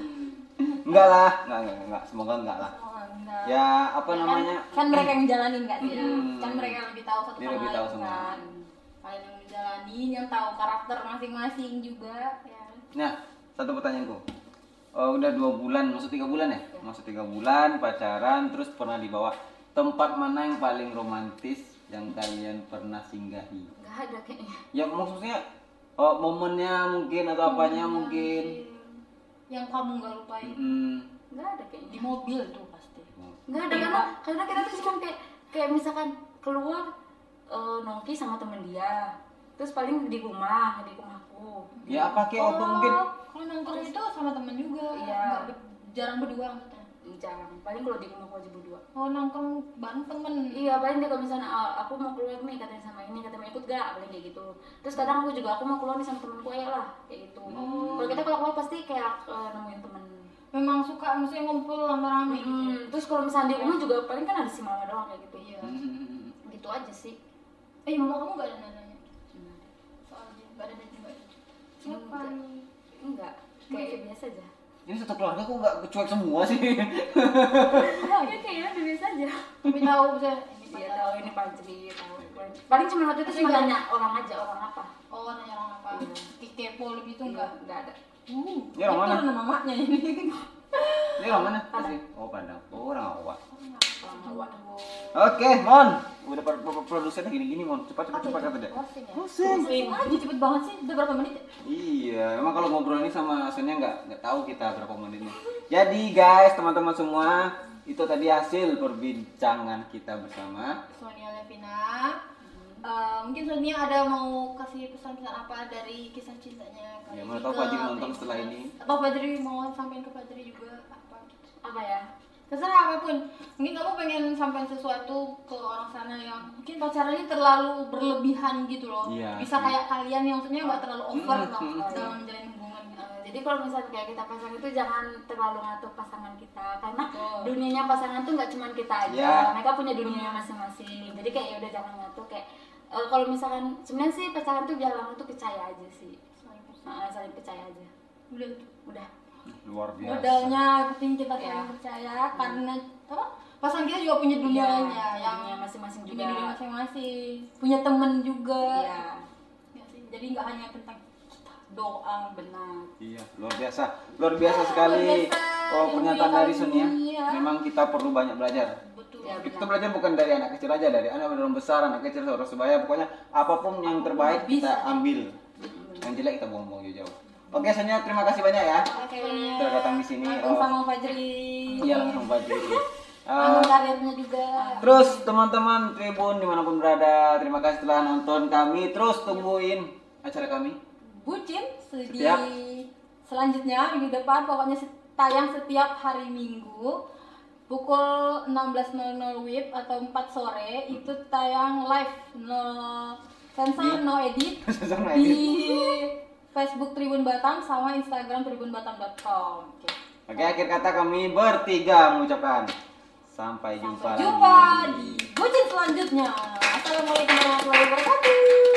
[SPEAKER 1] Enggak lah, enggak, enggak, enggak. Semoga enggak lah.
[SPEAKER 2] Oh, enggak.
[SPEAKER 1] Ya, apa
[SPEAKER 2] kan-
[SPEAKER 1] namanya?
[SPEAKER 2] Kan mereka yang jalanin nggak sih?
[SPEAKER 1] Mm-mm.
[SPEAKER 2] Kan mereka lebih tahu satu
[SPEAKER 1] Dia
[SPEAKER 2] sama
[SPEAKER 1] lebih
[SPEAKER 2] lain
[SPEAKER 1] tahu sama
[SPEAKER 2] kan. Kalian yang menjalani, yang tahu karakter masing-masing juga ya.
[SPEAKER 1] Nah, satu pertanyaanku. Eh, udah dua bulan, masuk tiga bulan ya? Masuk tiga bulan, pacaran, terus pernah dibawa. Tempat mana yang paling romantis yang kalian pernah singgahi?
[SPEAKER 3] nggak ada kayaknya
[SPEAKER 1] Ya maksudnya eh, momennya mungkin atau apanya mungkin. Mm-hmm.
[SPEAKER 2] Yang kamu nggak lupain
[SPEAKER 1] Mm-mm.
[SPEAKER 3] nggak ada kayaknya Iya.
[SPEAKER 2] di mobil tuh pasti.
[SPEAKER 3] nggak ada karena karena kita tuh cuma kayak kayak misalkan keluar eh, nongki sama temen dia terus paling di rumah di rumahku
[SPEAKER 1] Ya apa kayak waktu
[SPEAKER 2] Kalau-
[SPEAKER 1] mungkin
[SPEAKER 2] Kalau nongkrong itu sama temen juga.
[SPEAKER 3] Iya.
[SPEAKER 2] Nggak ber- jarang berdua maksudnya.
[SPEAKER 3] jarang paling kalau di rumahku aja berdua
[SPEAKER 2] Kalau Oh, nongkrong bareng temen.
[SPEAKER 3] Iya, paling dia kalau misalnya "Ah, aku mau keluar nih katanya sama ini, katanya mau ikut gak? Paling kayak gitu. Terus kadang aku juga aku mau keluar nih sama temenku ya lah, kayak gitu. Kalau kita kalau keluar pasti kayak eh, nemuin temen.
[SPEAKER 2] Memang suka maksudnya ngumpul rame-rame gitu.
[SPEAKER 3] Hmm, Terus kalau misalnya di rumah juga paling kan ada si mama doang kayak gitu.
[SPEAKER 2] Iya.
[SPEAKER 1] Mm-mm.
[SPEAKER 3] Gitu aja sih.
[SPEAKER 2] Eh, mama kamu nggak ada nanya soalnya nggak ada nanya juga. Siapa
[SPEAKER 3] Enggak.
[SPEAKER 2] nih?
[SPEAKER 3] Enggak, kayak biasa aja.
[SPEAKER 1] ini satu keluarga kok nggak cuek semua sih.
[SPEAKER 3] Ya kayaknya udah biasa aja.
[SPEAKER 2] Tapi tahu misalnya ini
[SPEAKER 3] Iya
[SPEAKER 2] pacar.
[SPEAKER 3] tahu ini pantri, tahu. Paling cuma waktu itu cuma nanya orang aja orang apa.
[SPEAKER 2] Oh, nanya orang apa? Ke- Kepo lebih tuh enggak?
[SPEAKER 3] Enggak ada.
[SPEAKER 2] Uh,
[SPEAKER 1] Ini orang mana?
[SPEAKER 2] turun mamanya ini.
[SPEAKER 1] Ini orang mana? Oh Padang. Oh orang Awak.
[SPEAKER 3] Orang Hawa.
[SPEAKER 1] Oke, Mon. Udah pro- pro- produsernya gini-gini, Mon. Cepat cepat cepat kata deh.
[SPEAKER 2] Closing ya?
[SPEAKER 1] Pusing.
[SPEAKER 2] Pusing aja cepet banget sih. Udah berapa menit? ya?
[SPEAKER 1] Iya, emang kalau ngobrol ini sama Sonia nggak nggak tahu kita berapa menitnya. Jadi guys, teman-teman semua, itu tadi hasil perbincangan kita bersama.
[SPEAKER 2] Sonia Levina. Eh, mungkin Sonia ada mau kasih pesan-pesan apa dari kisah cintanya kali
[SPEAKER 1] Ya,
[SPEAKER 2] ini
[SPEAKER 1] mana tahu
[SPEAKER 2] ke
[SPEAKER 1] Pak Jiri nonton
[SPEAKER 2] Trimas?
[SPEAKER 1] setelah ini.
[SPEAKER 2] Atau Padri mau sampaikan ke Padri juga apa gitu.
[SPEAKER 3] Apa ya?
[SPEAKER 2] terserah apapun mungkin kamu pengen sampaikan sesuatu ke orang sana yang mungkin pacarannya terlalu berlebihan gitu loh
[SPEAKER 1] Iya.
[SPEAKER 2] bisa kayak kalian yang maksudnya nggak terlalu over
[SPEAKER 1] Mm,
[SPEAKER 2] lah
[SPEAKER 1] mm,
[SPEAKER 2] dalam menjalin hubungan gitu
[SPEAKER 3] Eh, jadi kalau misalnya kayak kita pasangan itu jangan terlalu ngatur pasangan kita karena
[SPEAKER 2] Betul.
[SPEAKER 3] dunianya pasangan tuh nggak cuma kita aja
[SPEAKER 1] Ya.
[SPEAKER 3] mereka punya dunianya masing-masing jadi kayak ya udah jangan ngatur kayak eh, kalau misalkan sebenarnya sih pacaran tuh bilang tuh percaya aja sih Nah, saling percaya aja
[SPEAKER 2] udah
[SPEAKER 3] udah
[SPEAKER 1] Luar biasa.
[SPEAKER 2] modalnya penting kita saling
[SPEAKER 3] Iya.
[SPEAKER 2] percaya karena apa pasangan kita juga punya dunianya
[SPEAKER 3] Iya,
[SPEAKER 2] yang
[SPEAKER 3] dunia masing-masing
[SPEAKER 2] punya
[SPEAKER 3] juga
[SPEAKER 2] dunia masing-masing punya temen juga
[SPEAKER 3] Iya,
[SPEAKER 2] Ya sih, jadi nggak hanya tentang kita doang
[SPEAKER 3] benar
[SPEAKER 1] Iya, luar biasa. Luar biasa sekali.
[SPEAKER 2] luar biasa.
[SPEAKER 1] Oh,
[SPEAKER 2] Ilmu
[SPEAKER 1] pernyataan
[SPEAKER 2] yang
[SPEAKER 1] dari Sonia.
[SPEAKER 2] ini, ya.
[SPEAKER 1] Memang kita perlu banyak belajar.
[SPEAKER 2] betul
[SPEAKER 3] Ya,
[SPEAKER 1] Kita
[SPEAKER 3] benar.
[SPEAKER 1] belajar bukan dari anak kecil aja, dari anak orang besar, anak kecil, orang sebaya, pokoknya apapun yang terbaik kita ambil. Yang jelek kita buang-buang jauh-jauh. Oke, Sonia, terima kasih banyak ya.
[SPEAKER 2] oke
[SPEAKER 1] Sudah datang di sini.
[SPEAKER 2] langsung
[SPEAKER 1] Oh,
[SPEAKER 2] sama Fajri
[SPEAKER 1] Iya langsung Pak Jiri.
[SPEAKER 2] Bangun karirnya juga.
[SPEAKER 1] Terus teman-teman Tribun dimanapun berada, terima kasih telah nonton kami. Terus tungguin acara kami.
[SPEAKER 2] Bucin se- di
[SPEAKER 1] Setiap-
[SPEAKER 2] selanjutnya minggu depan pokoknya se- tayang setiap hari Minggu pukul 16.00 WIB atau 4 sore itu tayang live no sensor
[SPEAKER 1] Di-
[SPEAKER 2] no edit
[SPEAKER 1] Sama
[SPEAKER 2] di
[SPEAKER 1] ini.
[SPEAKER 2] Facebook Tribun Batam sama Instagram tribunbatam.com. Oke.
[SPEAKER 1] Oke, akhir kata kami bertiga mengucapkan sampai jumpa,
[SPEAKER 2] Sampai jumpa
[SPEAKER 1] lagi.
[SPEAKER 2] di Bucin selanjutnya. Assalamualaikum warahmatullahi wabarakatuh.